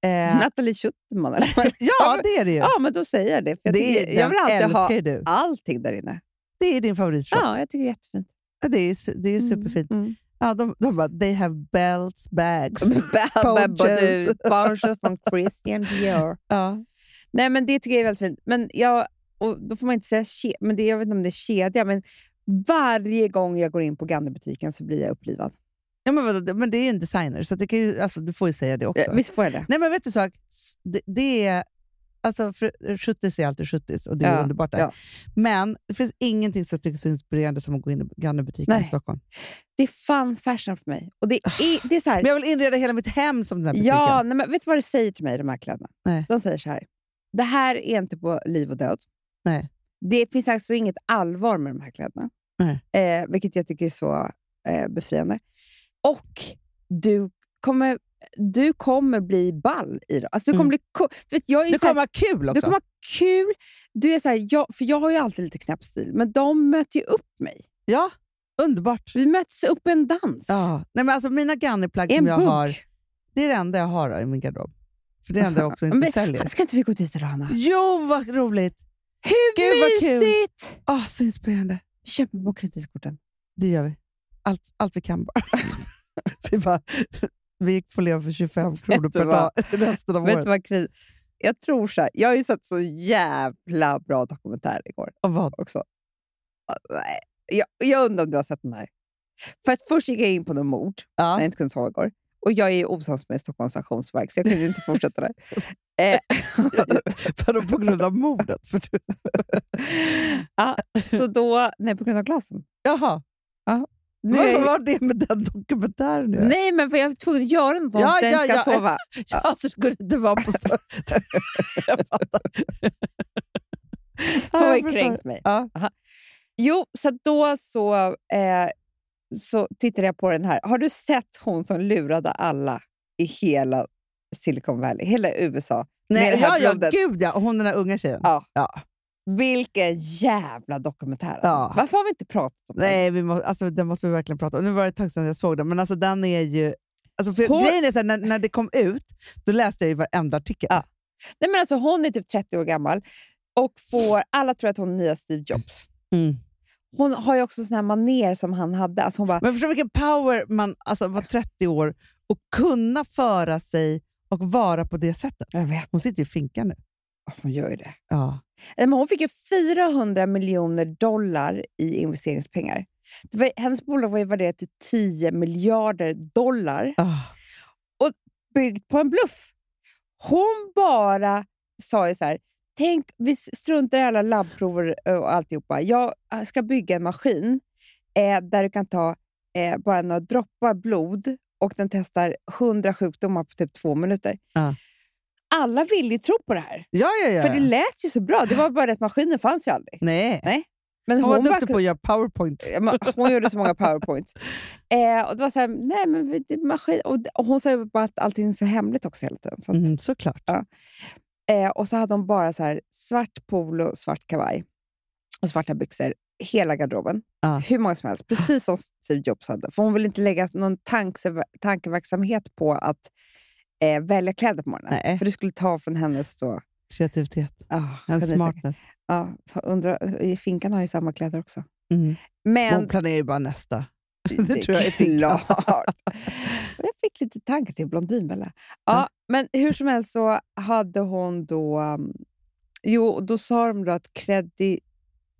[SPEAKER 7] Eh,
[SPEAKER 6] Nathalie Schuttman eller vad
[SPEAKER 7] *laughs* ja, det är det ju.
[SPEAKER 6] Ja, men då säger jag det. För jag,
[SPEAKER 7] det är,
[SPEAKER 6] tycker, jag vill
[SPEAKER 7] den
[SPEAKER 6] alltid
[SPEAKER 7] älskar
[SPEAKER 6] ha
[SPEAKER 7] ju du.
[SPEAKER 6] allting där inne.
[SPEAKER 7] Det är din favoritshop.
[SPEAKER 6] Ja, jag tycker det är jättefint.
[SPEAKER 7] Ja. Det, är, su- det är superfint.
[SPEAKER 6] Mm. *laughs*
[SPEAKER 7] Ja, de, de bara, they have belts, bags. Ponchos.
[SPEAKER 6] Ponchos från Christian Dior.
[SPEAKER 7] ja.
[SPEAKER 6] Nej, men det tycker jag är väldigt fint. Men jag, och då får man inte säga ke, men det, jag vet inte om det är kedja, men varje gång jag går in på Gandhi-butiken så blir jag upplivad.
[SPEAKER 7] Ja, men, vadå, det- men det är ju en designer, så att det kan ju, alltså, du får ju säga det också.
[SPEAKER 6] Eh, Visst får jag det?
[SPEAKER 7] Nej, men vet du sak? S- Det, det är, alltså, fr- schuttis är alltid schuttis och det är
[SPEAKER 6] Ja,
[SPEAKER 7] underbart där.
[SPEAKER 6] ja.
[SPEAKER 7] Men det finns ingenting som jag tycker är så inspirerande som att gå in i Gunnarbutiken i
[SPEAKER 6] Nej.
[SPEAKER 7] Stockholm.
[SPEAKER 6] Det är fan fashion för mig. Och det är, det är så här,
[SPEAKER 7] Men jag vill inreda hela mitt hem som den här butiken.
[SPEAKER 6] Ja, nej, men vet du vad det säger till mig, de här kläderna?
[SPEAKER 7] Nej.
[SPEAKER 6] De säger så här. Det här är inte på liv och död.
[SPEAKER 7] Nej.
[SPEAKER 6] Det finns alltså inget allvar med de här kläderna. Eh, vilket jag tycker är så eh, befriande. Och du kommer, du kommer bli ball i dem. Alltså, du kommer
[SPEAKER 7] Mm.
[SPEAKER 6] bli co- du vet, jag är
[SPEAKER 7] Det
[SPEAKER 6] så här,
[SPEAKER 7] kommer vara kul också.
[SPEAKER 6] du kommer ha kul. Du är så här, jag, för jag har ju alltid lite knäpp stil, men de möter ju upp mig.
[SPEAKER 7] Ja, underbart.
[SPEAKER 6] Vi möts upp i en dans.
[SPEAKER 7] Ja. Nej, men alltså, mina Gunny-plagg
[SPEAKER 6] I en
[SPEAKER 7] som jag
[SPEAKER 6] bugg.
[SPEAKER 7] har, det är det enda jag har i min garderob. För det är det enda
[SPEAKER 6] *laughs*
[SPEAKER 7] jag också inte
[SPEAKER 6] Men-
[SPEAKER 7] säljer.
[SPEAKER 6] Ska inte vi gå dit idag, Hanna?
[SPEAKER 7] Jo, vad roligt!
[SPEAKER 6] Hur
[SPEAKER 7] Gud, vad kul.
[SPEAKER 6] mysigt!
[SPEAKER 7] Åh, så inspirerande.
[SPEAKER 6] Vi köper på kreditkorten.
[SPEAKER 7] Det gör vi. Allt, allt vi kan bara. *laughs* vi, bara *laughs* vi får leva för 25 kronor per
[SPEAKER 6] vad?
[SPEAKER 7] dag *laughs* resten av
[SPEAKER 6] Vet
[SPEAKER 7] året.
[SPEAKER 6] du vad kredit... Jag tror så här, jag har ju sett så jävla bra dokumentär igår
[SPEAKER 7] Och vad?
[SPEAKER 6] också. Nej, Jag, jag undrar om du har sett den här. För att först gick jag in på något mord, när jag
[SPEAKER 7] Ja.
[SPEAKER 6] inte kunde sova igår. Och jag är ju osams med Stockholms Sanktionsverk, så jag kunde ju inte fortsätta
[SPEAKER 7] *laughs*
[SPEAKER 6] där. Eh,
[SPEAKER 7] Vadå, på grund av mordet? För du...
[SPEAKER 6] ja, så då... Nej, på grund av glasen.
[SPEAKER 7] Jaha,
[SPEAKER 6] Nu är
[SPEAKER 7] vad
[SPEAKER 6] jag,
[SPEAKER 7] var det med den dokumentären? nu?
[SPEAKER 6] nej, men för jag var tvungen att göra något
[SPEAKER 7] Ja,
[SPEAKER 6] ja, jag
[SPEAKER 7] ja,
[SPEAKER 6] inte kan
[SPEAKER 7] ja.
[SPEAKER 6] sova.
[SPEAKER 7] Ja, så skulle det inte vara
[SPEAKER 6] *laughs*
[SPEAKER 7] på stå... Jag fattar.
[SPEAKER 6] Hon
[SPEAKER 7] Ja,
[SPEAKER 6] har
[SPEAKER 7] jag
[SPEAKER 6] ju
[SPEAKER 7] förstår.
[SPEAKER 6] kränkt mig.
[SPEAKER 7] Ja.
[SPEAKER 6] Jo, så att då så, eh, så tittade jag på den här. Har du sett hon som lurade alla i hela Silicon Valley, hela USA? med
[SPEAKER 7] Nej,
[SPEAKER 6] det
[SPEAKER 7] ja,
[SPEAKER 6] här
[SPEAKER 7] ja,
[SPEAKER 6] blodet?
[SPEAKER 7] gud ja. Och hon den där unga tjejen.
[SPEAKER 6] Ja. Vilken jävla dokumentär! Alltså.
[SPEAKER 7] Ja.
[SPEAKER 6] Varför har vi inte pratat om
[SPEAKER 7] Nej, vi må, alltså, den måste vi verkligen prata om. Nu var det ett tag sedan jag såg den, men alltså, den är ju... Alltså, för
[SPEAKER 6] Hon-
[SPEAKER 7] Grejen är så här, när, när det kom ut, då läste jag ju varenda artikel.
[SPEAKER 6] Ja. den? Nej, men alltså, hon är typ 30 år gammal och får, alla tror att hon är nya Steve Jobs.
[SPEAKER 7] Mm.
[SPEAKER 6] Hon har ju också såna här maner som han hade. Alltså hon bara,
[SPEAKER 7] Men förstå vilken power man alltså, var 30 år och kunna föra sig och vara på det sättet.
[SPEAKER 6] jag vet,
[SPEAKER 7] Hon sitter ju i finkan nu.
[SPEAKER 6] hon gör ju det.
[SPEAKER 7] Ja.
[SPEAKER 6] Nej, Eh, Men hon fick ju 400 miljoner dollar i investeringspengar. Det var, hennes bolag var ju värderat till 10 miljarder dollar,
[SPEAKER 7] Ah.
[SPEAKER 6] byggt på en bluff. Hon bara sa ju så här, tänk, vi struntar i alla labbprover eh, och alltihopa. Jag eh, ska bygga en maskin eh, där du kan ta eh, bara några droppar blod och den testar 100 sjukdomar på typ två minuter.
[SPEAKER 7] Ja.
[SPEAKER 6] Alla ville ju tro på det här.
[SPEAKER 7] Ja, ja, ja.
[SPEAKER 6] För det lät ju så bra. Det var bara det att maskinen fanns ju aldrig.
[SPEAKER 7] Nej.
[SPEAKER 6] Nej, Men
[SPEAKER 7] Hon var
[SPEAKER 6] bara
[SPEAKER 7] duktig på att göra powerpoints.
[SPEAKER 6] kunde- Ma- hon gjorde så många powerpoints.
[SPEAKER 7] *laughs*
[SPEAKER 6] Eh, och det var så här, nej men vi- det, maskin... och, det- och hon sa ju bara att allting är så hemligt också hela tiden. Så att,
[SPEAKER 7] Mm, såklart.
[SPEAKER 6] eh, och så hade hon bara så här, svart polo, svart kavaj och svarta byxor. Hela garderoben.
[SPEAKER 7] Ja.
[SPEAKER 6] Hur många som helst. Precis som Steve Jobs hade. För hon ville inte lägga någon tanke, tankeverksamhet på att eh, välja kläder på morgonen.
[SPEAKER 7] Nej.
[SPEAKER 6] För det skulle ta från hennes då...
[SPEAKER 7] Kreativitet.
[SPEAKER 6] Ah,
[SPEAKER 7] En
[SPEAKER 6] genitanke.
[SPEAKER 7] smartness.
[SPEAKER 6] Ja, fa- undrar, i finkan har ju samma kläder också.
[SPEAKER 7] Mm. Hon
[SPEAKER 6] Men
[SPEAKER 7] planerar ju bara nästa.
[SPEAKER 6] *laughs*
[SPEAKER 7] *laughs* Det tror jag är finkan.
[SPEAKER 6] klart. Men *laughs* jag fick lite tankar till Blondinbella. Ja, Men hur som helst så hade hon då... um, Jo, då sa de då att kredi,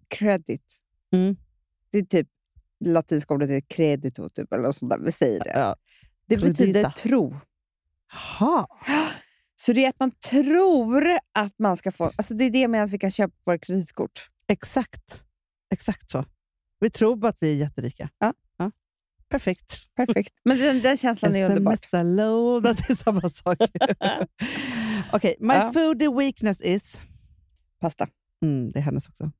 [SPEAKER 6] credit,
[SPEAKER 7] Mm.
[SPEAKER 6] det är typ latinska ordet är credito, typ, eller något sånt där. Vi säger det.
[SPEAKER 7] Ja.
[SPEAKER 6] Det betyder
[SPEAKER 7] Credita.
[SPEAKER 6] tro.
[SPEAKER 7] Jaha.
[SPEAKER 6] Så det är att man tror att man ska få... Alltså det är det med att vi kan köpa våra kreditkort.
[SPEAKER 7] Exakt. Exakt så. Vi tror bara att vi är jätterika.
[SPEAKER 6] Ja.
[SPEAKER 7] Perfekt.
[SPEAKER 6] *laughs* Perfekt. Men den, den känslan är underbar.
[SPEAKER 7] Sms-låda, det är samma sak.
[SPEAKER 6] *laughs*
[SPEAKER 7] Okej, my
[SPEAKER 6] Ja.
[SPEAKER 7] foodie weakness is...
[SPEAKER 6] Pasta.
[SPEAKER 7] Mm, det är hennes också.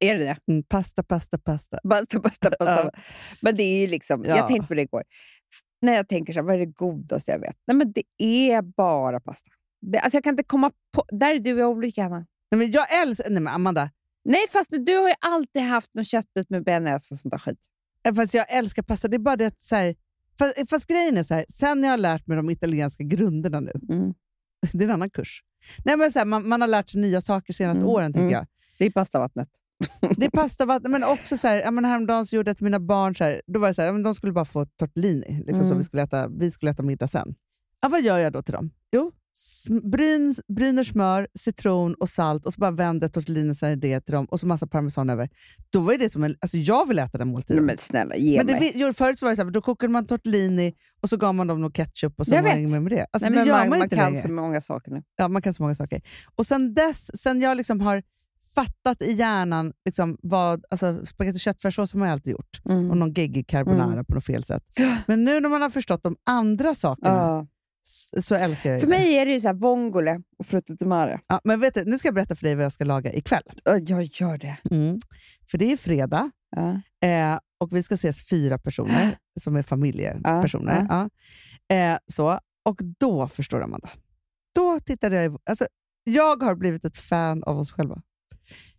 [SPEAKER 6] Är det det?
[SPEAKER 7] Mm, pasta, pasta, pasta.
[SPEAKER 6] Basta,
[SPEAKER 7] *laughs*
[SPEAKER 6] basta, basta. Men det är ju liksom,
[SPEAKER 7] Ja.
[SPEAKER 6] jag tänkte på det igår. F- När jag tänker så här, vad är det godaste jag vet? Nej, men det är bara pasta. Det, alltså jag kan inte komma på, där är du och jag olika Anna.
[SPEAKER 7] Nej, men jag älskar... Nej, men Amanda.
[SPEAKER 6] Nej, fast du har ju alltid haft någon köttbit med bearnaise och sånt där skit.
[SPEAKER 7] eh, Fast jag älskar pasta. Det är bara det att... Så här, fast, eh, fast grejen är så här, sen jag har lärt mig de italienska grunderna nu. *laughs*
[SPEAKER 6] Mm.
[SPEAKER 7] Det är en annan kurs. Nej, men så här, man, man har lärt sig nya saker senaste
[SPEAKER 6] Mm,
[SPEAKER 7] åren, tänker
[SPEAKER 6] mm.
[SPEAKER 7] jag.
[SPEAKER 6] Det är pastavattnet.
[SPEAKER 7] Det är pastavatten, men också så här, ja, men häromdagen så gjorde jag till mina barn, så här, då var det så här, ja, men de skulle bara få tortellini, liksom, så
[SPEAKER 6] Mm.
[SPEAKER 7] vi skulle, äta, vi skulle äta middag sen. Ja, vad gör jag då till dem? Jo, sm- bryn, bryner smör, citron och salt och så bara vänder tortellinerna i det till dem och så massa parmesan över. Då var ju det som en, alltså jag vill äta den
[SPEAKER 6] Nej,
[SPEAKER 7] måltiden.
[SPEAKER 6] men snälla, ge
[SPEAKER 7] men det,
[SPEAKER 6] mig.
[SPEAKER 7] vi- jo, förut så var det så här, då kokade man tortellini och så gav man dem någon ketchup och så
[SPEAKER 6] Jag
[SPEAKER 7] var det
[SPEAKER 6] vet.
[SPEAKER 7] inget mer med det. Alltså,
[SPEAKER 6] Nej, men
[SPEAKER 7] det gör
[SPEAKER 6] man,
[SPEAKER 7] man, ju
[SPEAKER 6] man
[SPEAKER 7] inte
[SPEAKER 6] kan
[SPEAKER 7] längre.
[SPEAKER 6] så många saker nu.
[SPEAKER 7] Ja, man kan så många saker. Och sen dess, sen jag liksom har fattat i hjärnan liksom vad, alltså spagetti och köttfärssås har man ju alltid gjort. Mm.
[SPEAKER 6] Mm.
[SPEAKER 7] Och någon geggig carbonara på något fel sätt. Men nu när man har förstått de andra sakerna
[SPEAKER 6] Ja.
[SPEAKER 7] s- så älskar jag ju
[SPEAKER 6] För
[SPEAKER 7] det.
[SPEAKER 6] mig är det ju så här vongole och frutti di mare.
[SPEAKER 7] Ja, men vet du, nu ska jag berätta för dig vad jag ska laga ikväll.
[SPEAKER 6] Ja, Jag gör det.
[SPEAKER 7] För det är fredag
[SPEAKER 6] Ja.
[SPEAKER 7] eh, och vi ska ses fyra *gasps* personer som är familjepersoner. Ja, Eh, så. Och då, förstår du Amanda, då tittade jag i, alltså, Jag har blivit ett fan av oss själva.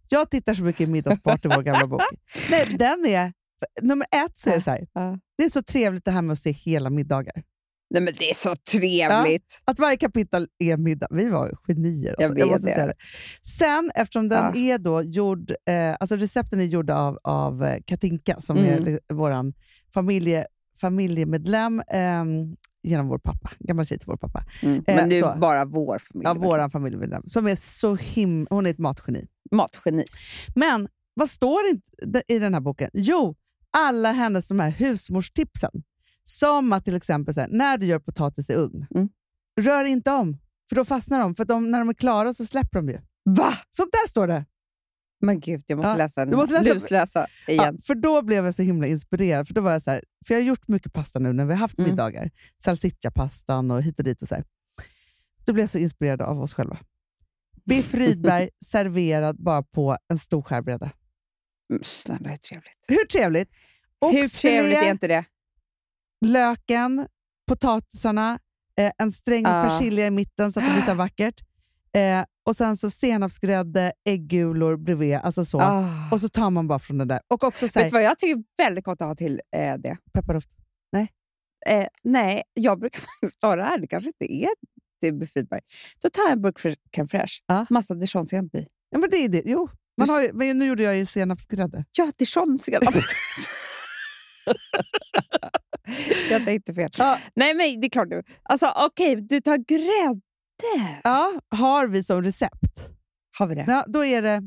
[SPEAKER 7] Jag tittar så mycket i Middagsbart i vår gamla *laughs* bok. Nej, den är, nummer ett så är det så här,
[SPEAKER 6] Ja.
[SPEAKER 7] det är så trevligt det här med att se hela middagar.
[SPEAKER 6] Nej, men det är så trevligt.
[SPEAKER 7] Att varje kapitel är middag. Vi var genier. Alltså.
[SPEAKER 6] Jag
[SPEAKER 7] Jag
[SPEAKER 6] vet
[SPEAKER 7] måste
[SPEAKER 6] det.
[SPEAKER 7] säga det. Sen, eftersom den
[SPEAKER 6] Ah.
[SPEAKER 7] är då gjord, eh, alltså recepten är gjorda av, av eh, Katinka, som
[SPEAKER 6] Mm.
[SPEAKER 7] är li- våran familje, familjemedlem ehm, genom vår pappa, gammal tjej till vår pappa.
[SPEAKER 6] Mm.
[SPEAKER 7] Eh,
[SPEAKER 6] Men nu
[SPEAKER 7] så.
[SPEAKER 6] bara vår familj. liksom.
[SPEAKER 7] Ja, våran familjemedlem. Som är så him- hon är ett matgeni.
[SPEAKER 6] Matgeni.
[SPEAKER 7] Men vad står det inte i den här boken? Jo, alla hennes de här husmorstipsen. Som att till exempel så här, när du gör potatis i ugn,
[SPEAKER 6] Mm.
[SPEAKER 7] rör inte om. För då fastnar de. För de, när de är klara så släpper de ju.
[SPEAKER 6] Va?
[SPEAKER 7] Sånt där står det.
[SPEAKER 6] Men gud, jag måste
[SPEAKER 7] Ja,
[SPEAKER 6] läsa den.
[SPEAKER 7] du måste läsa-
[SPEAKER 6] Lusläsa
[SPEAKER 7] Ja,
[SPEAKER 6] igen.
[SPEAKER 7] för då blev jag så himla inspirerad. För då var jag så här, för jag har gjort mycket pasta nu när vi har haft
[SPEAKER 6] Mm.
[SPEAKER 7] middagar. Salsiccia-pastan och hit och dit. och så här. Då blev jag så inspirerad av oss själva.
[SPEAKER 6] *laughs*
[SPEAKER 7] Biff Rydberg serverad bara på en stor skärbräda.
[SPEAKER 6] Mm, Snälla, hur trevligt.
[SPEAKER 7] Hur trevligt?
[SPEAKER 6] Hur trevligt
[SPEAKER 7] Oxfilé,
[SPEAKER 6] är inte det?
[SPEAKER 7] löken, potatisarna, eh, en sträng
[SPEAKER 6] Ja.
[SPEAKER 7] persilja i mitten så att det blir så här vackert. Eh, och sen så senapsgrädde, äggulor bredvid. Alltså så.
[SPEAKER 6] Ah.
[SPEAKER 7] Och så tar man bara från den där. Och också så
[SPEAKER 6] Vet du
[SPEAKER 7] här,
[SPEAKER 6] vad jag tycker är väldigt gott att ha till eh, det?
[SPEAKER 7] pepparrot.
[SPEAKER 6] Eh, nej, jag brukar *laughs* faktiskt ta det här. Det kanske inte är till bufféberg. Då tar jag en burk för- crème fraîche,
[SPEAKER 7] Ja.
[SPEAKER 6] massa dijonsenap i.
[SPEAKER 7] Ja, men det är det. Jo, man har ju, men nu gjorde jag ju senapsgrädde.
[SPEAKER 6] Ja, dijonsenap. *laughs* jag tänkte fel.
[SPEAKER 7] Ja.
[SPEAKER 6] Nej, men det är klart. du- Alltså, Okej, du tar grädde.
[SPEAKER 7] Ja, har vi som recept.
[SPEAKER 6] Har vi det?
[SPEAKER 7] Ja, då är det,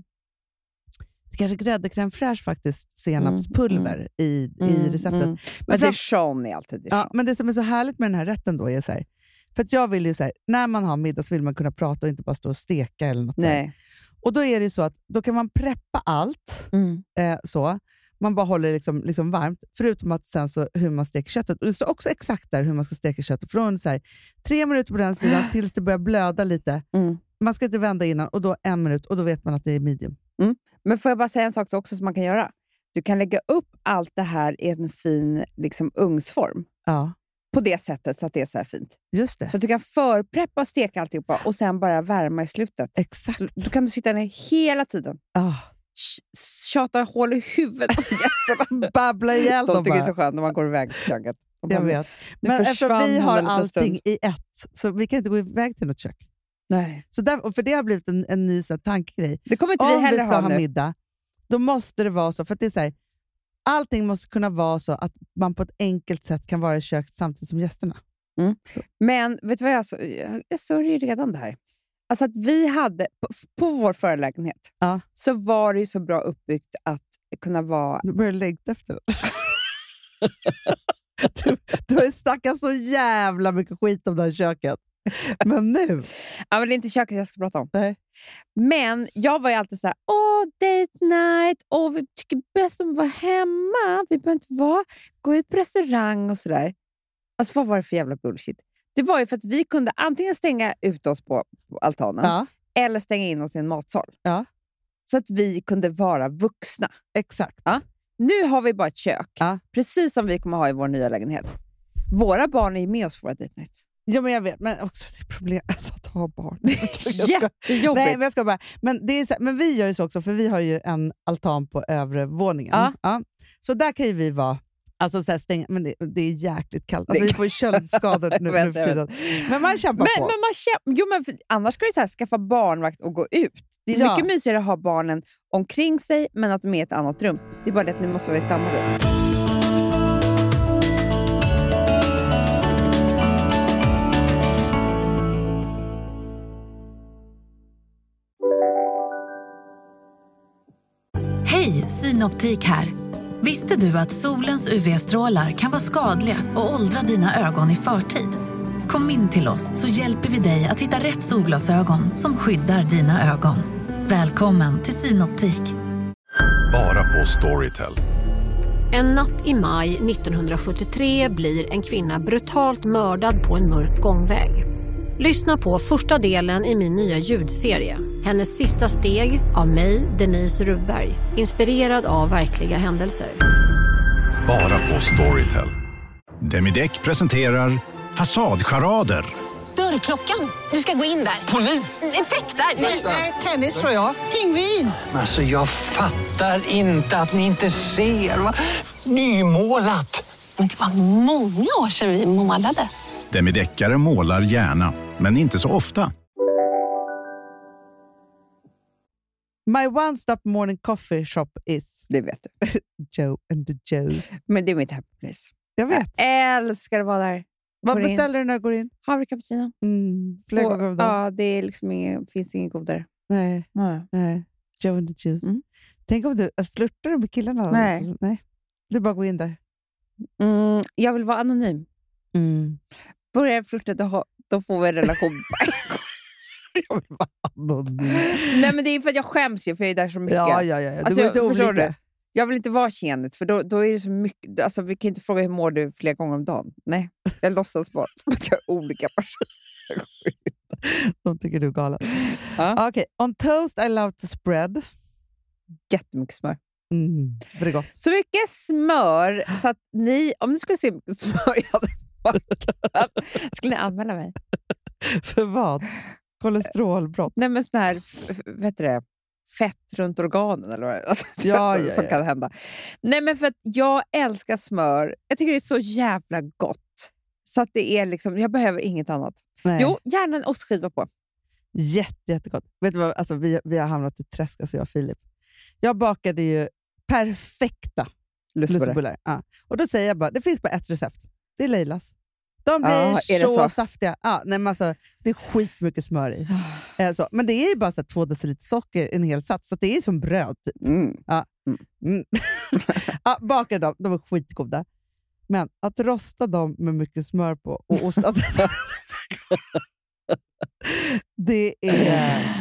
[SPEAKER 7] det kanske grädde crème fraîche faktiskt, senapspulver I, i
[SPEAKER 6] Mm,
[SPEAKER 7] receptet.
[SPEAKER 6] mm. Men
[SPEAKER 7] Men fram-
[SPEAKER 6] dijon är alltid dijon.
[SPEAKER 7] Ja, men det som är så härligt med den här rätten då är så här, för att jag vill ju så här, när man har middag så vill man kunna prata och inte bara stå och steka eller något så här.
[SPEAKER 6] Nej.
[SPEAKER 7] Och då är det ju så att då kan man preppa allt
[SPEAKER 6] Mm.
[SPEAKER 7] eh, så. Man bara håller det liksom, liksom varmt, förutom att sen så hur man steker köttet. Och Det står också exakt där hur man ska steka köttet. Från så här, tre minuter på den sidan
[SPEAKER 6] *gasps*
[SPEAKER 7] tills det börjar blöda lite.
[SPEAKER 6] Mm.
[SPEAKER 7] Man ska inte vända innan och då en minut och då vet man att det är medium.
[SPEAKER 6] Men får jag bara säga en sak också som man kan göra? Du kan lägga upp allt det här i en fin liksom, ugnsform.
[SPEAKER 7] Ja,
[SPEAKER 6] På det sättet så att det är så här fint.
[SPEAKER 7] just det.
[SPEAKER 6] Så att du kan förpreppa och steka alltihopa och sen bara värma i slutet.
[SPEAKER 7] Exakt.
[SPEAKER 6] Då kan du sitta ner hela tiden.
[SPEAKER 7] Ah.
[SPEAKER 6] Sh- Tjata hål i huvudet på
[SPEAKER 7] *laughs*
[SPEAKER 6] gästerna.
[SPEAKER 7] Babbla ihjäl
[SPEAKER 6] De
[SPEAKER 7] dem
[SPEAKER 6] tycker det är så
[SPEAKER 7] bara.
[SPEAKER 6] skönt när man går iväg till köket. De
[SPEAKER 7] Jag
[SPEAKER 6] bara,
[SPEAKER 7] vet.
[SPEAKER 6] "Nu
[SPEAKER 7] Men eftersom
[SPEAKER 6] försvann
[SPEAKER 7] vi
[SPEAKER 6] den
[SPEAKER 7] har
[SPEAKER 6] en liten stund."
[SPEAKER 7] allting i ett, så vi kan inte gå iväg till något kök.
[SPEAKER 6] Nej.
[SPEAKER 7] Så där, och för det har blivit en, en ny så här, tankegrej.
[SPEAKER 6] Det kommer inte vi
[SPEAKER 7] Om vi,
[SPEAKER 6] heller
[SPEAKER 7] ska ha
[SPEAKER 6] ha nu.
[SPEAKER 7] middag, då måste det vara så. För att det är så här, allting måste kunna vara så att man på ett enkelt sätt kan vara i köket samtidigt som gästerna.
[SPEAKER 6] Men vet du vad jag, så, jag, jag sörjer redan det här. Alltså att vi hade, på, på vår förelägenhet
[SPEAKER 7] Ja.
[SPEAKER 6] så var det ju så bra uppbyggt att kunna vara...
[SPEAKER 7] Du börjar längta efter det. *laughs* du, du har ju snackat så jävla mycket skit om det här köket. Men nu...
[SPEAKER 6] Ja, men det är inte köket jag ska prata om.
[SPEAKER 7] Nej.
[SPEAKER 6] Men jag var ju alltid så här, åh, date night, åh, vi tycker bäst om att vara hemma, vi behöver inte vara, gå ut på restaurang och sådär. Alltså vad var det för jävla bullshit? Det var ju för att vi kunde antingen stänga ut oss på, på altanen
[SPEAKER 7] Ja,
[SPEAKER 6] eller stänga in oss i en matsal.
[SPEAKER 7] Ja.
[SPEAKER 6] Så att vi kunde vara vuxna.
[SPEAKER 7] exakt.
[SPEAKER 6] Nu har vi bara ett kök,
[SPEAKER 7] Ja.
[SPEAKER 6] precis som vi kommer ha i vår nya lägenhet. Våra barn är ju med oss på våra date night.
[SPEAKER 7] Ja, men jag vet, men också det är problem alltså, att ha barn. *laughs* Jag ska-
[SPEAKER 6] Jättejobbigt!
[SPEAKER 7] Nej, men jag ska bara. Men, det är så, men vi gör ju så också, för vi har ju en altan på övre våningen.
[SPEAKER 6] Ja.
[SPEAKER 7] Så där kan ju vi vara. Alltså så här stänga, men det, det är jäkligt kallt. Alltså,
[SPEAKER 6] Det-
[SPEAKER 7] vi får ju
[SPEAKER 6] *laughs*
[SPEAKER 7] köldskador nu,
[SPEAKER 6] Jag
[SPEAKER 7] nu
[SPEAKER 6] vet,
[SPEAKER 7] för
[SPEAKER 6] jag
[SPEAKER 7] tiden. Men man kämpar
[SPEAKER 6] Men, men
[SPEAKER 7] på.
[SPEAKER 6] man käm- jo, men för, annars ska du så här, skaffa barnvakt och gå ut. Det är
[SPEAKER 7] Ja.
[SPEAKER 6] mycket mysigare att ha barnen omkring sig, men att de är i ett annat rum. Det är bara det att ni måste vara i samma rum.
[SPEAKER 8] Synoptik här. Visste du att solens UV-strålar kan vara skadliga och åldra dina ögon i förtid? Kom in till oss så hjälper vi dig att hitta rätt solglasögon som skyddar dina ögon. Välkommen till Synoptik.
[SPEAKER 9] Bara på Storytel.
[SPEAKER 10] En natt i maj 1973 blir en kvinna brutalt mördad på en mörk gångväg. Lyssna på första delen i min nya ljudserie. Hennes sista steg av mig, Denise Rubberg. Inspirerad av verkliga händelser.
[SPEAKER 9] Bara på Storytel.
[SPEAKER 11] Demideck presenterar Fasadcharader.
[SPEAKER 12] Dörrklockan. Du ska gå in där. Polis? Effektar? Nej, tennis tror jag. Pingvin.
[SPEAKER 13] Alltså, jag fattar inte att ni inte ser. Va? Nymålat.
[SPEAKER 12] Men det var många år sedan vi målade.
[SPEAKER 11] Demideckare målar gärna, men inte så ofta.
[SPEAKER 7] My one stop morning coffee shop is
[SPEAKER 6] Det vet du.
[SPEAKER 7] *laughs* Joe and the Joes.
[SPEAKER 6] Men det är mitt happy place.
[SPEAKER 7] Jag vet.
[SPEAKER 6] Älskar att vara där.
[SPEAKER 7] Vad
[SPEAKER 6] går in.
[SPEAKER 7] beställer du när du går in?
[SPEAKER 6] Havre cappuccino.
[SPEAKER 7] Mm, flera
[SPEAKER 6] Och-
[SPEAKER 7] gånger om dagen?
[SPEAKER 6] Ja, det är liksom ingen, finns inget godare.
[SPEAKER 7] Nej, nej. Joe and the Joes.
[SPEAKER 6] Mm.
[SPEAKER 7] Tänk om du äh, flörtar du med killarna?
[SPEAKER 6] Nej.
[SPEAKER 7] Alltså, nej. Du bara går in där.
[SPEAKER 6] Mm, jag vill vara anonym. Mm. Börjar jag flirta, då, har- då får vi en
[SPEAKER 7] *laughs*
[SPEAKER 6] relation.
[SPEAKER 7] Jag vill vara anonym.
[SPEAKER 6] Nej, men det är för att jag skäms ju, för jag är där så mycket.
[SPEAKER 7] Ja, ja, ja. ja. Du
[SPEAKER 6] Alltså,
[SPEAKER 7] går inte
[SPEAKER 6] förstår
[SPEAKER 7] olika.
[SPEAKER 6] du? Jag vill inte vara tjenet, för då, då är det så mycket... Alltså, vi kan inte fråga hur mår du flera gånger om dagen. Nej, jag låtsas bara *laughs* som att jag är olika personer.
[SPEAKER 7] De tycker du är galen.
[SPEAKER 6] Ja.
[SPEAKER 7] Okej, on toast I love to spread.
[SPEAKER 6] Jättemycket smör.
[SPEAKER 7] Mm.
[SPEAKER 6] *laughs*
[SPEAKER 7] Bregott.
[SPEAKER 6] Så mycket smör så att ni, om ni skulle se hur mycket *laughs* smör jag hade packat, skulle ni anmäla mig?
[SPEAKER 7] För vad? Kolesterolbrott.
[SPEAKER 6] Nej, men sån här, f- f- vad heter det, fett runt organen eller vad det är. alltså, *laughs*
[SPEAKER 7] Ja, ja,
[SPEAKER 6] som
[SPEAKER 7] ja.
[SPEAKER 6] kan hända. Nej, men för att jag älskar smör. Jag tycker det är så jävla gott. Så att det är liksom, jag behöver inget annat.
[SPEAKER 7] Nej.
[SPEAKER 6] Eh, Jo, gärna en ostskiva på.
[SPEAKER 7] Jätte, jättegott. Vet du vad? Alltså, vi, vi har hamnat i träsk, alltså jag och Filip. Jag bakade ju perfekta
[SPEAKER 6] Lussebullar.
[SPEAKER 7] lussebullar. Ja. Och då säger jag bara, det finns bara ett recept. Det är Leilas. De blir
[SPEAKER 6] Ja, är det
[SPEAKER 7] så,
[SPEAKER 6] så?
[SPEAKER 7] saftiga. Ja, nej, men alltså, det är skitmycket smör i. Eh, så. Men det är ju bara så här, två deciliter socker i en hel sats, så att det är ju som bröd. Typ.
[SPEAKER 6] Mm.
[SPEAKER 7] Mm. ja, bakade dem, de var skitgoda. Men att rosta dem med mycket smör på och
[SPEAKER 6] *laughs*
[SPEAKER 7] ost... att- det är...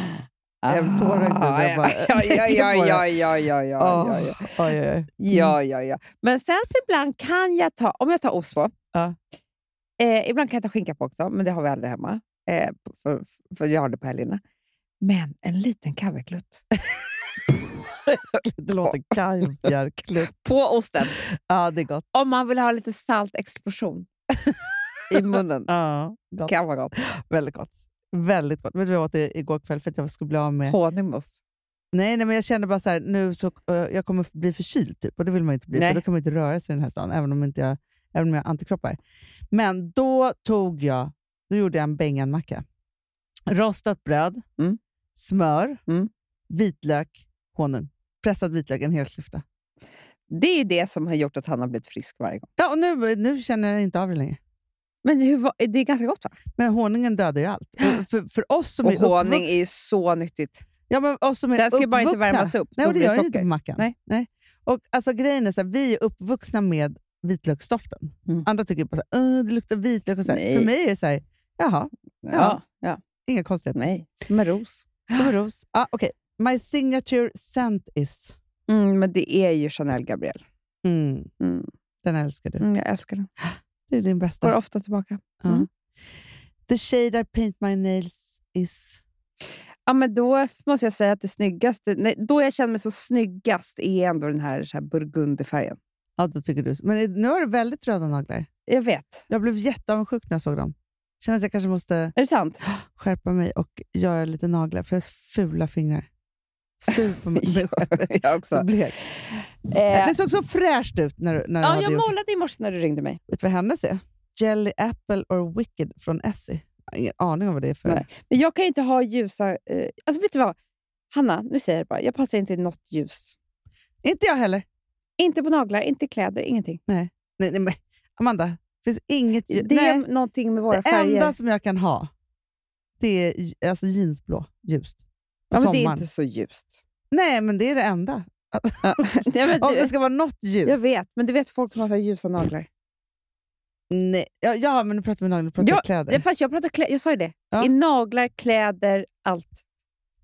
[SPEAKER 7] Jag vill tårar inte,
[SPEAKER 6] Ah,
[SPEAKER 7] jag bara-
[SPEAKER 6] *laughs*
[SPEAKER 7] *laughs*
[SPEAKER 6] ja, ja, ja, ja, ja, ja, ja, ja, ja.
[SPEAKER 7] Åh, Mm. oj, oj, oj.
[SPEAKER 6] Ja, ja, ja. Men sen så ibland kan jag ta, om jag tar ost på,
[SPEAKER 7] Ja.
[SPEAKER 6] eh, ibland kan jag ta skinka på också, men det har vi aldrig hemma. Eh, för, för jag har det på helgerna. Men en liten kaviarklutt.
[SPEAKER 7] *laughs* Det låter
[SPEAKER 6] *laughs*
[SPEAKER 7] kaviarklutt.
[SPEAKER 6] på osten.
[SPEAKER 7] Ja, det är gott.
[SPEAKER 6] Om man vill ha lite
[SPEAKER 7] *laughs*
[SPEAKER 6] saltexplosion i munnen.
[SPEAKER 7] Ja, gott.
[SPEAKER 6] kan vara gott.
[SPEAKER 7] Väldigt gott. Väldigt gott. Vet du vad jag åt i- igår kväll för att jag skulle bli av med...
[SPEAKER 6] Honung med ost.
[SPEAKER 7] Nej, nej, men jag kände bara så här, nu så, eh, jag kommer bli förkyld typ, och det vill man inte bli,
[SPEAKER 6] Nej.
[SPEAKER 7] för då kan man inte röra sig i den här stan, även om, inte jag, även om jag har antikroppar. Men då tog jag, då gjorde jag en benganmacka. Rostat bröd,
[SPEAKER 6] Mm.
[SPEAKER 7] smör,
[SPEAKER 6] Mm.
[SPEAKER 7] vitlök, honung. Pressad vitlök, en hel klyfta.
[SPEAKER 6] Det är ju det som har gjort att han har blivit frisk varje gång.
[SPEAKER 7] Ja, och nu, nu känner jag inte av det längre.
[SPEAKER 6] Men hur, var- det är ganska gott va?
[SPEAKER 7] Men honungen dödar
[SPEAKER 6] *gasps*
[SPEAKER 7] ju allt. Och För, för oss som
[SPEAKER 6] Och
[SPEAKER 7] är
[SPEAKER 6] honung
[SPEAKER 7] uppvuxna...
[SPEAKER 6] är ju så nyttigt.
[SPEAKER 7] Ja, men oss som är
[SPEAKER 6] Den ska ju bara inte
[SPEAKER 7] uppvuxna-
[SPEAKER 6] värmas upp.
[SPEAKER 7] Nej,
[SPEAKER 6] då
[SPEAKER 7] och det
[SPEAKER 6] blir
[SPEAKER 7] gör ju inte
[SPEAKER 6] socker.
[SPEAKER 7] på mackan.
[SPEAKER 6] Nej.
[SPEAKER 7] Och, alltså, grejen är så här, vi är uppvuxna med vitlöksdoften.
[SPEAKER 6] Mm.
[SPEAKER 7] Andra tycker bara så här, "Åh, det luktar vitlök. Och så här.
[SPEAKER 6] Nej.
[SPEAKER 7] För mig är det så här, jaha,
[SPEAKER 6] Ja, ja.
[SPEAKER 7] inga konstigheter.
[SPEAKER 6] Nej, med ros.
[SPEAKER 7] Som en ros. Ah, okay. My signature scent is...
[SPEAKER 6] Mm, men det är ju Chanel Gabriel.
[SPEAKER 7] Mm,
[SPEAKER 6] Mm.
[SPEAKER 7] den älskar du.
[SPEAKER 6] Mm, jag älskar den.
[SPEAKER 7] Det är din bästa.
[SPEAKER 6] Går ofta tillbaka.
[SPEAKER 7] Ja.
[SPEAKER 6] Mm.
[SPEAKER 7] The shade I paint my nails is...
[SPEAKER 6] Ja, men då måste jag säga att det snyggaste, nej, då jag känner mig så snyggast är ändå den här, så här burgundifärgen.
[SPEAKER 7] Ja, då tycker du. Men nu har du väldigt röda naglar.
[SPEAKER 6] Jag vet.
[SPEAKER 7] Jag blev jätteavundsjuk när jag såg dem. Känner att jag kanske måste
[SPEAKER 6] Är det sant?
[SPEAKER 7] skärpa mig och göra lite naglar, för jag har fula fingrar. Sur
[SPEAKER 6] *laughs*
[SPEAKER 7] på mig mig själv.
[SPEAKER 6] jag också.
[SPEAKER 7] Så blek.
[SPEAKER 6] Eh,
[SPEAKER 7] Det såg så fräscht ut när du, när
[SPEAKER 6] ja,
[SPEAKER 7] du hade
[SPEAKER 6] jag
[SPEAKER 7] gjort
[SPEAKER 6] målade i morse när du ringde mig.
[SPEAKER 7] Vet du vad hennes är? Jelly Apple or Wicked från Essie. Jag har ingen aning om vad det är för...
[SPEAKER 6] Nej. Men jag kan ju inte ha ljusa... Eh, alltså vet du vad? Hanna, nu säger jag det bara. Jag passar inte i något ljus.
[SPEAKER 7] Inte jag heller.
[SPEAKER 6] Inte på naglar, inte i kläder, ingenting.
[SPEAKER 7] Nej, nej, men Amanda, det finns inget...
[SPEAKER 6] Det
[SPEAKER 7] ju-
[SPEAKER 6] är
[SPEAKER 7] nej,
[SPEAKER 6] någonting med våra
[SPEAKER 7] det
[SPEAKER 6] färger.
[SPEAKER 7] enda som jag kan ha, det är ju- alltså jeansblå ljust. På
[SPEAKER 6] ja, men det är
[SPEAKER 7] sommaren.
[SPEAKER 6] inte så ljust.
[SPEAKER 7] Nej, men det är det enda.
[SPEAKER 6] *laughs* Nej, men
[SPEAKER 7] Om
[SPEAKER 6] du-
[SPEAKER 7] det ska vara något ljus.
[SPEAKER 6] Jag vet, men du vet folk som har så här ljusa naglar.
[SPEAKER 7] Nej. Ja, ja, men nu pratar vi naglar, nu pratar vi
[SPEAKER 6] Jag,
[SPEAKER 7] kläder.
[SPEAKER 6] jag, fast jag, pratar klä, jag sa ju det. I naglar, kläder, allt.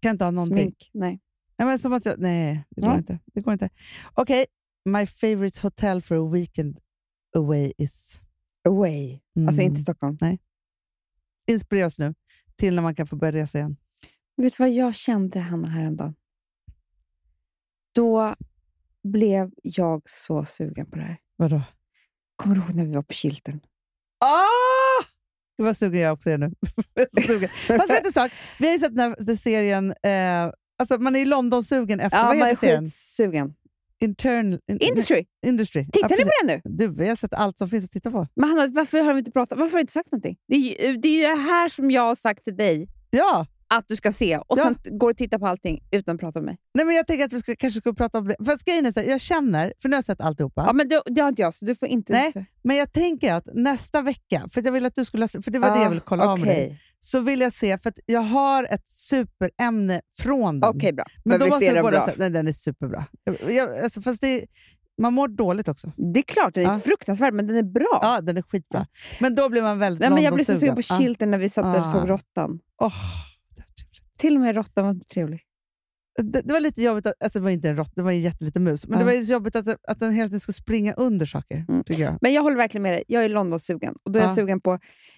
[SPEAKER 7] Kan inte ha någonting.
[SPEAKER 6] Smink, nej.
[SPEAKER 7] Nej, men som att jag, nej det går
[SPEAKER 6] Ja.
[SPEAKER 7] inte. Det går inte. Okej, my favorite hotel for a weekend away is...
[SPEAKER 6] Away? Alltså inte Stockholm?
[SPEAKER 7] Mm. Nej. Inspirera oss nu till när man kan få börja resa igen.
[SPEAKER 6] Vet du vad jag kände, Hanna, häromdagen? Då blev jag så sugen på det här.
[SPEAKER 7] Vadå?
[SPEAKER 6] Kommer du ihåg när vi var på Kilten?
[SPEAKER 7] Ah! Det var sugen jag också är nu. *laughs* Jag är
[SPEAKER 6] *laughs*
[SPEAKER 7] så sugen. Fast vet du en sak? Vi har ju sett den här den serien... Eh, alltså man är i London-sugen efter...
[SPEAKER 6] Ja,
[SPEAKER 7] vad
[SPEAKER 6] man är
[SPEAKER 7] heter serien?
[SPEAKER 6] skitsugen.
[SPEAKER 7] Internal, in,
[SPEAKER 6] Industry.
[SPEAKER 7] Industry.
[SPEAKER 6] Tittar ni på den nu?
[SPEAKER 7] Du, vi har sett allt som finns att titta på.
[SPEAKER 6] Men Hanna, varför har vi inte pratat? Varför har du inte sagt någonting? Det är ju det, är ju det här som jag har sagt till dig
[SPEAKER 7] ja.
[SPEAKER 6] att du ska se och
[SPEAKER 7] Ja.
[SPEAKER 6] sen t- går du och tittar på allting utan att prata med mig.
[SPEAKER 7] Nej, men jag tänker att vi skulle, kanske skulle prata om det. För att grejen är så här, jag känner, för nu har jag sett alltihopa.
[SPEAKER 6] Ja, men det, det har inte jag, så du får inte...
[SPEAKER 7] Nej, men jag tänker att nästa vecka, för jag vill att du skulle ha se- för det var det
[SPEAKER 6] Ah,
[SPEAKER 7] jag ville kolla av med
[SPEAKER 6] okej.
[SPEAKER 7] dig, så vill jag se, för att jag har ett superämne från den.
[SPEAKER 6] Okej, bra.
[SPEAKER 7] Men,
[SPEAKER 6] Men
[SPEAKER 7] då
[SPEAKER 6] vi
[SPEAKER 7] måste
[SPEAKER 6] ser
[SPEAKER 7] vi
[SPEAKER 6] den
[SPEAKER 7] båda
[SPEAKER 6] bra.
[SPEAKER 7] säga, nej den är superbra. Jag, jag, alltså, fast det, man mår dåligt också.
[SPEAKER 6] Det är klart, den är fruktansvärd, men den är bra.
[SPEAKER 7] Ja, den är skitbra. Men då blir man väldigt
[SPEAKER 6] Nej, men jag blev så
[SPEAKER 7] Londonsugen.
[SPEAKER 6] sugen på
[SPEAKER 7] Ja.
[SPEAKER 6] Kilten när vi satt där och
[SPEAKER 7] Ah.
[SPEAKER 6] såg råttan.
[SPEAKER 7] Åh,
[SPEAKER 6] Till och med råttan var inte trevlig.
[SPEAKER 7] Det, det var lite jobbigt, att, alltså det var inte en råtta, det var en jätteliten mus, men
[SPEAKER 6] Ja. Mm.
[SPEAKER 7] det var ju så jobbigt att, att den hela tiden skulle springa under saker. Tycker jag.
[SPEAKER 6] Men jag håller verkligen med dig. Jag är London-sugen. Och då är
[SPEAKER 7] Ja.
[SPEAKER 6] jag, sugen på,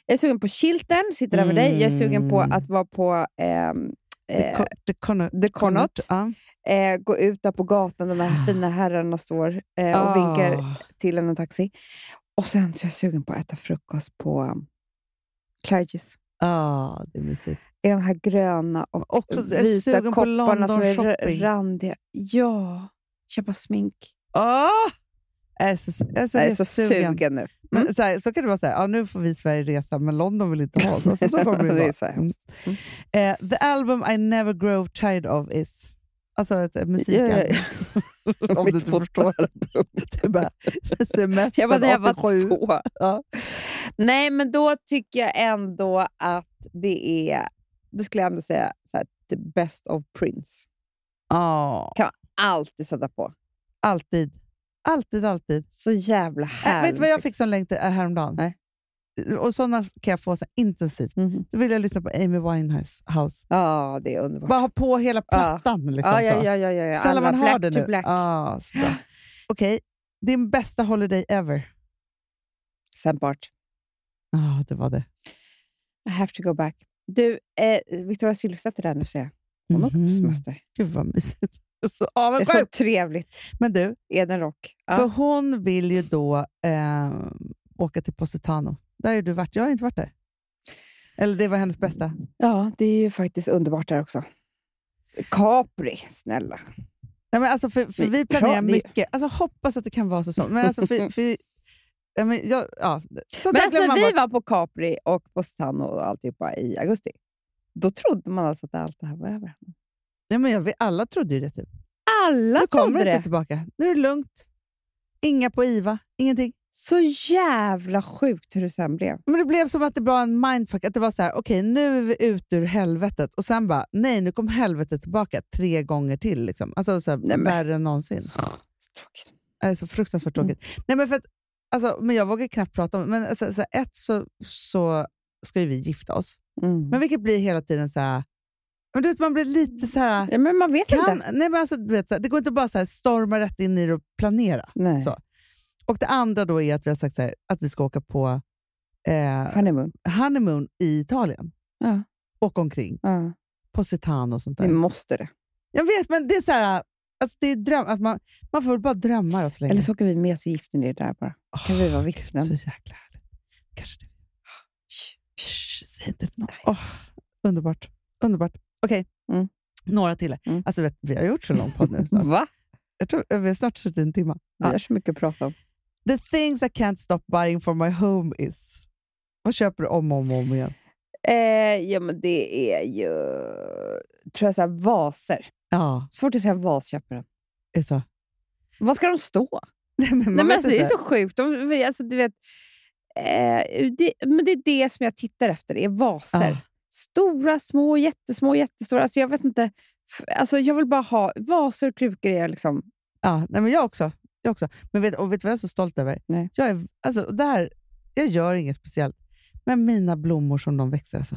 [SPEAKER 6] jag är sugen på Chiltern, sitter där med dig. Jag är sugen på
[SPEAKER 7] Mm.
[SPEAKER 6] att vara på ehm,
[SPEAKER 7] The,
[SPEAKER 6] eh,
[SPEAKER 7] co- the, Connaught-
[SPEAKER 6] The Connaught.
[SPEAKER 7] ja.
[SPEAKER 6] eh, gå ut där på gatan, de här fina herrarna står eh, och
[SPEAKER 7] Ah.
[SPEAKER 6] vinkar till en taxi. Och sen så är jag sugen på att äta frukost på um, Clarges.
[SPEAKER 7] Ja, Ah, det är mysigt.
[SPEAKER 6] I de här gröna och
[SPEAKER 7] Också jag är
[SPEAKER 6] vita
[SPEAKER 7] sugen på
[SPEAKER 6] kopparna
[SPEAKER 7] London
[SPEAKER 6] som är
[SPEAKER 7] shopping.
[SPEAKER 6] r- randiga. Ja, köpa smink.
[SPEAKER 7] Åh! Jag är så, jag är så,
[SPEAKER 6] Ah! Jag är så
[SPEAKER 7] sugen.
[SPEAKER 6] sugen Mm. nu.
[SPEAKER 7] Men så, här, så kan det vara så här, ja, nu får vi i Sverige resa, men London vill inte ha oss. Alltså,
[SPEAKER 6] *laughs*
[SPEAKER 7] så kommer det,
[SPEAKER 6] Det är
[SPEAKER 7] vara.
[SPEAKER 6] så
[SPEAKER 7] Mm. Eh, the album I never grow tired of is... Alltså ett eh, musikalbum.
[SPEAKER 6] Ja, ja,
[SPEAKER 7] *laughs* Om du inte förstår. *laughs* Du bara, semestern
[SPEAKER 6] Jag var när jag var
[SPEAKER 7] 87.
[SPEAKER 6] två.
[SPEAKER 7] Ja.
[SPEAKER 6] Nej, men då tycker jag ändå att det är... Då skulle jag ändå säga så här, the best of Prince.
[SPEAKER 7] Ja,
[SPEAKER 6] kan man alltid sätta på.
[SPEAKER 7] alltid. Alltid, alltid.
[SPEAKER 6] Så jävla
[SPEAKER 7] Äh,
[SPEAKER 6] härligt.
[SPEAKER 7] vet du vad jag fick som längtan äh, häromdagen? Och sådana kan jag få så här intensivt. Då vill jag lyssna på Amy Winehouse.
[SPEAKER 6] Mhm. Ja, det är underbart.
[SPEAKER 7] Bara ha på hela plattan.
[SPEAKER 6] Ja.
[SPEAKER 7] Liksom,
[SPEAKER 6] Ja, ja,
[SPEAKER 7] så.
[SPEAKER 6] ja, ja, ja, ja.
[SPEAKER 7] Sällan
[SPEAKER 6] Alla
[SPEAKER 7] man har
[SPEAKER 6] Black
[SPEAKER 7] det
[SPEAKER 6] to
[SPEAKER 7] nu.
[SPEAKER 6] Black.
[SPEAKER 7] Ah,
[SPEAKER 6] *gasps*
[SPEAKER 7] så bra. Okej, din bästa holiday ever?
[SPEAKER 6] St. Bart.
[SPEAKER 7] Ja, det var det.
[SPEAKER 6] I have to go back. Du, eh, Victoria Silvstedt är där nu ser jag. Hon åker
[SPEAKER 7] Mhm.
[SPEAKER 6] på semester.
[SPEAKER 7] Gud vad mysigt. *laughs*
[SPEAKER 6] det
[SPEAKER 7] Så
[SPEAKER 6] är så
[SPEAKER 7] avundsjuk.
[SPEAKER 6] trevligt.
[SPEAKER 7] Men du,
[SPEAKER 6] Eden Rock. Ja.
[SPEAKER 7] för hon vill ju då eh, åka till Positano. Där har du varit. Jag har inte varit där. Eller det var hennes bästa.
[SPEAKER 6] ja, det är ju faktiskt underbart där också. Capri, snälla.
[SPEAKER 7] Nej, men alltså för, för
[SPEAKER 6] Vi
[SPEAKER 7] vi planerar
[SPEAKER 6] pra- vi-
[SPEAKER 7] mycket. Alltså hoppas att det kan vara så. så. Men
[SPEAKER 6] *laughs*
[SPEAKER 7] alltså för, för, ja, men jag, ja. Sånt
[SPEAKER 6] Men
[SPEAKER 7] där
[SPEAKER 6] alltså,
[SPEAKER 7] glömmer
[SPEAKER 6] när
[SPEAKER 7] man
[SPEAKER 6] vi
[SPEAKER 7] bort.
[SPEAKER 6] var på Capri och på Stanno och alltihopa i augusti, då trodde man alltså att allt det här var över.
[SPEAKER 7] Nej, men jag, vet- alla trodde ju det. Typ.
[SPEAKER 6] Alla
[SPEAKER 7] nu kommer
[SPEAKER 6] trodde
[SPEAKER 7] det
[SPEAKER 6] det.
[SPEAKER 7] inte tillbaka. Nu är det lugnt. Inga på IVA, ingenting.
[SPEAKER 6] Så jävla sjukt hur det sen blev.
[SPEAKER 7] Men Det blev som att det var en mindfuck. Att det var så här, okej nu är vi ut ur helvetet. Och sen bara, nej nu kom helvetet tillbaka tre gånger till. Liksom. Alltså så här,
[SPEAKER 6] Nej, men-
[SPEAKER 7] värre än någonsin.
[SPEAKER 6] Tråkigt.
[SPEAKER 7] Det är så fruktansvärt
[SPEAKER 6] Mm.
[SPEAKER 7] tråkigt. Nej, men, för att, alltså, men jag vågar knappt prata om det. Men alltså, så här, ett så, så ska ju vi gifta oss.
[SPEAKER 6] Mm.
[SPEAKER 7] Men vilket blir hela tiden så här, men du vet, man blir lite så här...
[SPEAKER 6] Ja, men man vet
[SPEAKER 7] kan,
[SPEAKER 6] inte.
[SPEAKER 7] nej men alltså, du vet, så här, det går inte bara så här, storma rätt in i det och planera.
[SPEAKER 6] Nej.
[SPEAKER 7] Så. Och Det andra då är att vi har sagt så här, att vi ska åka på eh,
[SPEAKER 6] Honeymoon.
[SPEAKER 7] honeymoon i Italien.
[SPEAKER 6] Ja.
[SPEAKER 7] Åka omkring,
[SPEAKER 6] Ja.
[SPEAKER 7] Positano och sånt
[SPEAKER 6] Vi
[SPEAKER 7] där.
[SPEAKER 6] måste det.
[SPEAKER 7] Jag vet, men det är så här, alltså, det är dröm, att man, man får väl bara drömma då så länge.
[SPEAKER 6] Eller så åker vi med så gifter ni er där bara. Kan vi vara vittnen?
[SPEAKER 7] Så jäkla härligt. Kanske det. Shh, säg inte till någon. Åh, underbart. Underbart. Okej,
[SPEAKER 6] Mm.
[SPEAKER 7] några till. Alltså, vet, vi har gjort så lång
[SPEAKER 6] *laughs*
[SPEAKER 7] podd nu. snart.
[SPEAKER 6] Va?
[SPEAKER 7] Jag tror, vi har snart suttit en timme.
[SPEAKER 6] Vi har så mycket att prata om.
[SPEAKER 7] The things I can't stop buying for my home is... Vad köper du om och om, och om igen?
[SPEAKER 6] Eh, ja, men det är ju... Tror jag så här, vaser.
[SPEAKER 7] Ja,
[SPEAKER 6] Så fort jag ser en vas köper jag den.
[SPEAKER 7] är det så? *laughs*
[SPEAKER 6] Vad ska de stå?
[SPEAKER 7] Nej, men man
[SPEAKER 6] Nej, men
[SPEAKER 7] vet
[SPEAKER 6] alltså, det är
[SPEAKER 7] inte.
[SPEAKER 6] så sjukt. De, vi- alltså, du vet, eh, det, men det är det som jag tittar efter. Det är vaser.
[SPEAKER 7] Ja.
[SPEAKER 6] Stora, små, jättesmå, jättestora. Alltså, jag vet inte. F- Alltså, jag vill bara ha... Vaser och krukor är liksom
[SPEAKER 7] Ja, nej, men jag också. Jag också. Men vet, och vet du vad jag är så stolt över?
[SPEAKER 6] Nej.
[SPEAKER 7] Jag, är, alltså, och det här, jag gör inget speciellt, men mina blommor som de växer. Alltså.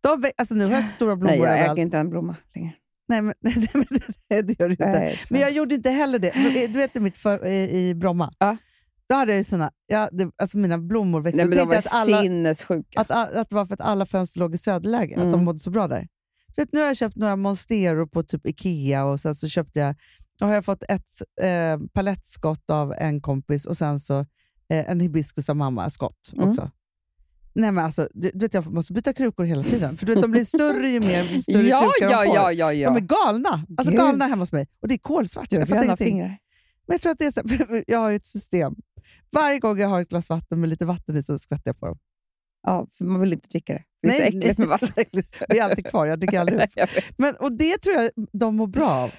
[SPEAKER 7] De, vä- alltså, nu har jag så stora blommor
[SPEAKER 6] Nej, jag
[SPEAKER 7] överallt.
[SPEAKER 6] äger inte en blomma längre. Eh,
[SPEAKER 7] Nej, men, *laughs* nej, men det- det gör du inte.
[SPEAKER 6] Nej, exakt.
[SPEAKER 7] men jag gjorde inte heller det. Men, eh, Du vet i mitt för, i, i Bromma, då hade jag ju såna, ja, det, alltså mina blommor växte.
[SPEAKER 6] Nej,
[SPEAKER 7] Jag
[SPEAKER 6] men de
[SPEAKER 7] tänkte
[SPEAKER 6] var
[SPEAKER 7] att alla-
[SPEAKER 6] sinnessjuka.
[SPEAKER 7] Att, a- att det var för att alla fönster låg i söderläge, att
[SPEAKER 6] Mm.
[SPEAKER 7] de mådde så bra där. Du Vet, nu har jag köpt några Monstero på typ Ikea och sen så köpte jag, då har jag fått ett eh, palettskott av en kompis och sen så eh, en hibiskus av mamma skott
[SPEAKER 6] Mm.
[SPEAKER 7] också. Nej men alltså, du, du vet jag måste byta krukor hela tiden. För du vet, de blir större ju mer ju större
[SPEAKER 6] Ja,
[SPEAKER 7] krukor
[SPEAKER 6] ja,
[SPEAKER 7] de får.
[SPEAKER 6] ja, ja, ja.
[SPEAKER 7] De är galna. Alltså
[SPEAKER 6] Gud.
[SPEAKER 7] galna hemma hos mig. Och det är kolsvart.
[SPEAKER 6] Du har
[SPEAKER 7] jag fattar
[SPEAKER 6] gröna
[SPEAKER 7] ingenting.
[SPEAKER 6] fingrar.
[SPEAKER 7] Men jag tror att det är så här, *laughs* jag har ju ett system. Varje gång jag har ett glas vatten med lite vatten i så skvätter jag på dem.
[SPEAKER 6] Ja, för man vill inte dricka det. Det är så äckligt med vatten.
[SPEAKER 7] *laughs* Det är alltid kvar,
[SPEAKER 6] *laughs*
[SPEAKER 7] jag dricker aldrig upp. Men, och det tror jag de mår bra av. Att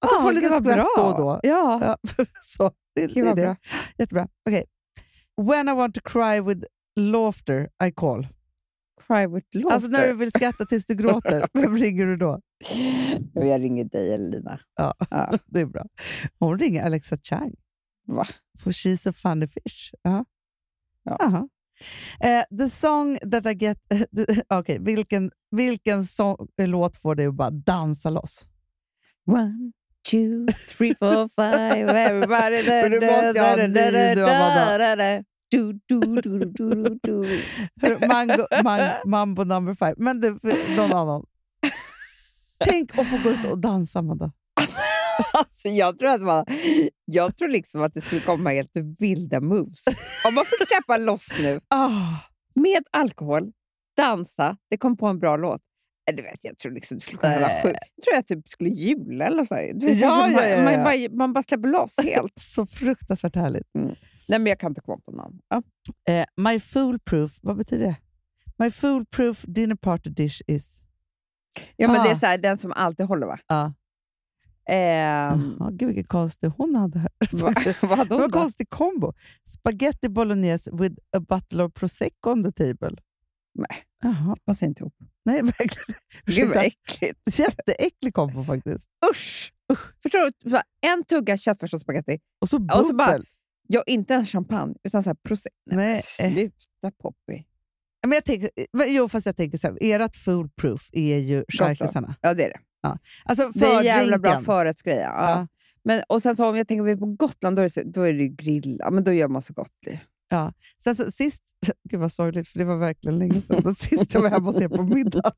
[SPEAKER 7] de
[SPEAKER 6] Ja,
[SPEAKER 7] får
[SPEAKER 6] gud,
[SPEAKER 7] lite
[SPEAKER 6] vad
[SPEAKER 7] skvätt
[SPEAKER 6] bra.
[SPEAKER 7] då och då.
[SPEAKER 6] Ja.
[SPEAKER 7] så, det, det
[SPEAKER 6] Gud,
[SPEAKER 7] är
[SPEAKER 6] vad
[SPEAKER 7] det.
[SPEAKER 6] bra.
[SPEAKER 7] Jättebra. Okej. When I want to cry with laughter I call.
[SPEAKER 6] Cry with laughter?
[SPEAKER 7] Alltså när du vill skratta tills
[SPEAKER 6] *laughs*
[SPEAKER 7] du gråter, vem ringer du då?
[SPEAKER 6] Jag ringer dig eller Lina.
[SPEAKER 7] Ja, det är bra. Hon ringer Alexa Chang.
[SPEAKER 6] Va?
[SPEAKER 7] For she's a funny fish. Ja. Jaha. Eh, the song that I get... *laughs* Okej, vilken, vilken sång, låt får dig att bara dansa loss?
[SPEAKER 6] One, two, three, four, five, everybody...
[SPEAKER 7] *laughs* Men du måste ju ha en ny nu, Amanda.
[SPEAKER 6] Du, du, du, du, du,
[SPEAKER 7] *laughs*
[SPEAKER 6] du.
[SPEAKER 7] Hörru, Mango, man, mambo number five. Men du, för någon annan. Tänk att få gå ut och dansa, Amanda.
[SPEAKER 6] Alltså, jag, tror att man, jag tror liksom att det skulle komma helt vilda moves. Om man fick släppa loss nu.
[SPEAKER 7] Ah,
[SPEAKER 6] Med alkohol, dansa, det kom på en bra låt. Äh, Du vet, jag tror liksom det skulle kunna vara sjukt. Jag tror jag typ skulle jula eller så. här. Du vet,
[SPEAKER 7] Ja,
[SPEAKER 6] kanske
[SPEAKER 7] ja, ja,
[SPEAKER 6] man,
[SPEAKER 7] ja.
[SPEAKER 6] man, bara, man bara släpper loss helt.
[SPEAKER 7] Så fruktansvärt härligt.
[SPEAKER 6] *laughs* Nej, men jag kan inte komma på någon. Ja.
[SPEAKER 7] Eh, my foolproof, vad betyder det? My foolproof dinner party dish is...
[SPEAKER 6] Ja, men
[SPEAKER 7] Ah.
[SPEAKER 6] Det är så här, den som alltid håller, va?
[SPEAKER 7] Ja.
[SPEAKER 6] Ehm, *laughs*
[SPEAKER 7] Ja, gud vilken konstig hon hade.
[SPEAKER 6] Va- *laughs* vadå
[SPEAKER 7] det var
[SPEAKER 6] då?
[SPEAKER 7] en konstig kombo. Spaghetti bolognese with a bottle of prosecco on the table.
[SPEAKER 6] Nej,
[SPEAKER 7] Jaha.
[SPEAKER 6] det passar inte ihop.
[SPEAKER 7] Nej, *laughs* verkligen.
[SPEAKER 6] Gud, vad
[SPEAKER 7] Ursäkta.
[SPEAKER 6] äckligt.
[SPEAKER 7] Jätteäcklig kombo faktiskt.
[SPEAKER 6] Usch! Förstår du? Bara En tugga köttfärs och spagetti.
[SPEAKER 7] Och så
[SPEAKER 6] Och så bara,
[SPEAKER 7] bubbel.
[SPEAKER 6] ja, inte en champagne, utan så här prosecco. Nej, men Sluta Poppy.
[SPEAKER 7] Men jag tänker, men jo, fast jag tänker så här, ert foolproof är ju
[SPEAKER 6] Gotland.
[SPEAKER 7] charkisarna.
[SPEAKER 6] Ja, det är det.
[SPEAKER 7] Ja. Alltså,
[SPEAKER 6] det är en jävla
[SPEAKER 7] fördrinken.
[SPEAKER 6] bra förrättsgrej. Ja.
[SPEAKER 7] Ja.
[SPEAKER 6] Men, och sen så om jag tänker vi är på Gotland, då är det, så- då är det ju grill. Ja, men då gör man så gott. ju.
[SPEAKER 7] Ja. Sen så sist, *laughs* gud vad sorgligt för det var verkligen länge sedan, men sist jag var hemma hos er på
[SPEAKER 6] *laughs*
[SPEAKER 7] middag,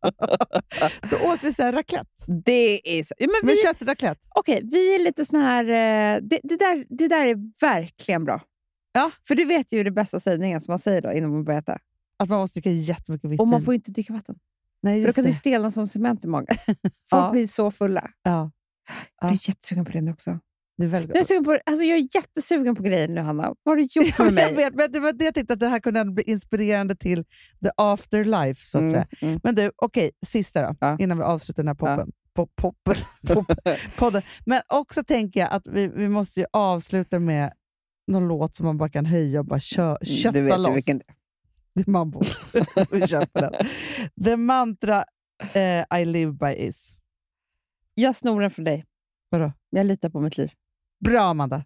[SPEAKER 7] då åt vi så här raclette.
[SPEAKER 6] Det är så. Ja, men
[SPEAKER 7] Med
[SPEAKER 6] vi,
[SPEAKER 7] köttraclette.
[SPEAKER 6] Okej, vi är lite sån här... eh, Det, det, där, det där är verkligen bra.
[SPEAKER 7] Ja.
[SPEAKER 6] För du vet ju det bästa sägningen som man säger då innan man börjar äta.
[SPEAKER 7] Att man måste dricka jättemycket vitt
[SPEAKER 6] Och man
[SPEAKER 7] vin.
[SPEAKER 6] får ju inte dricka vatten.
[SPEAKER 7] Nej,
[SPEAKER 6] För då
[SPEAKER 7] just
[SPEAKER 6] kan det
[SPEAKER 7] det.
[SPEAKER 6] ju stelna som cement i magen. *laughs* Folk
[SPEAKER 7] Ja.
[SPEAKER 6] blir så fulla.
[SPEAKER 7] Ja.
[SPEAKER 6] Jag är jättesugen på det nu också.
[SPEAKER 7] Det är väldigt
[SPEAKER 6] Jag är,
[SPEAKER 7] gott.
[SPEAKER 6] sugen på, alltså jag är jättesugen på grejen nu, Hanna. Vad har du gjort
[SPEAKER 7] *laughs* Ja,
[SPEAKER 6] med
[SPEAKER 7] men jag
[SPEAKER 6] mig?
[SPEAKER 7] vet, men det var det jag tänkte att det här kunde ändå bli inspirerande till the afterlife, så att
[SPEAKER 6] Mm,
[SPEAKER 7] säga.
[SPEAKER 6] mm.
[SPEAKER 7] Men du, okej, sista då, innan vi avslutar den här poppen. Po-
[SPEAKER 6] *laughs*
[SPEAKER 7] poppen. poppen. podden. Men också tänker jag att vi, vi måste ju avsluta med någon låt som man bara kan höja och bara kö, kötta
[SPEAKER 6] Mm, du vet ju
[SPEAKER 7] loss.
[SPEAKER 6] vilken det är.
[SPEAKER 7] *laughs* Det är Mambo. *laughs* vi kör på den. The mantra eh, I live by is.
[SPEAKER 6] Jag snor den från dig.
[SPEAKER 7] Vadå?
[SPEAKER 6] Jag litar på mitt liv.
[SPEAKER 7] Bra, Amanda.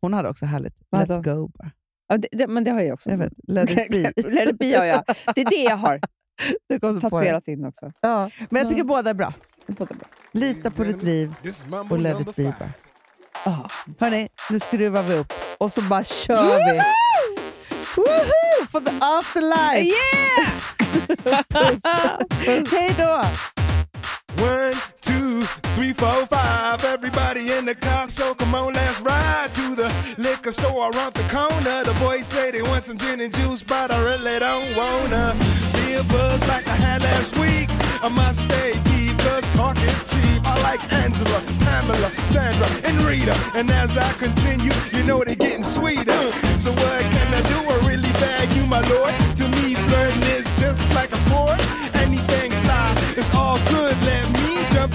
[SPEAKER 7] Hon hade också härligt.
[SPEAKER 6] Vadå?
[SPEAKER 7] Let go bara.
[SPEAKER 6] Ja, det, det, men det har jag också.
[SPEAKER 7] Jag vet, let it be.
[SPEAKER 6] *laughs* Let it be har jag. Det är det jag
[SPEAKER 7] *laughs*
[SPEAKER 6] har
[SPEAKER 7] Du kom på det.
[SPEAKER 6] tatuerat in också.
[SPEAKER 7] Ja, men jag tycker
[SPEAKER 6] Ja.
[SPEAKER 7] båda är bra. Lita på ditt liv och let it be. Oh. Hörni, nu skruvar vi upp och så bara kör vi. Woohoo! For the afterlife! *laughs* Yeah! Hej då!
[SPEAKER 14] One, two, three, four, five. Everybody in the car, so come on, let's ride to the liquor store around the corner. The boys say they want some gin and juice, but I really don't wanna. Be a buzz like I had last week. I must stay deep, cause talk is cheap. I like Angela, Pamela, Sandra, and Rita. And as I continue, you know they're getting sweeter. So what can I do? I really bag you, my lord. To me, flirting is just like a sport. Anything fly, it's all good. Let me jump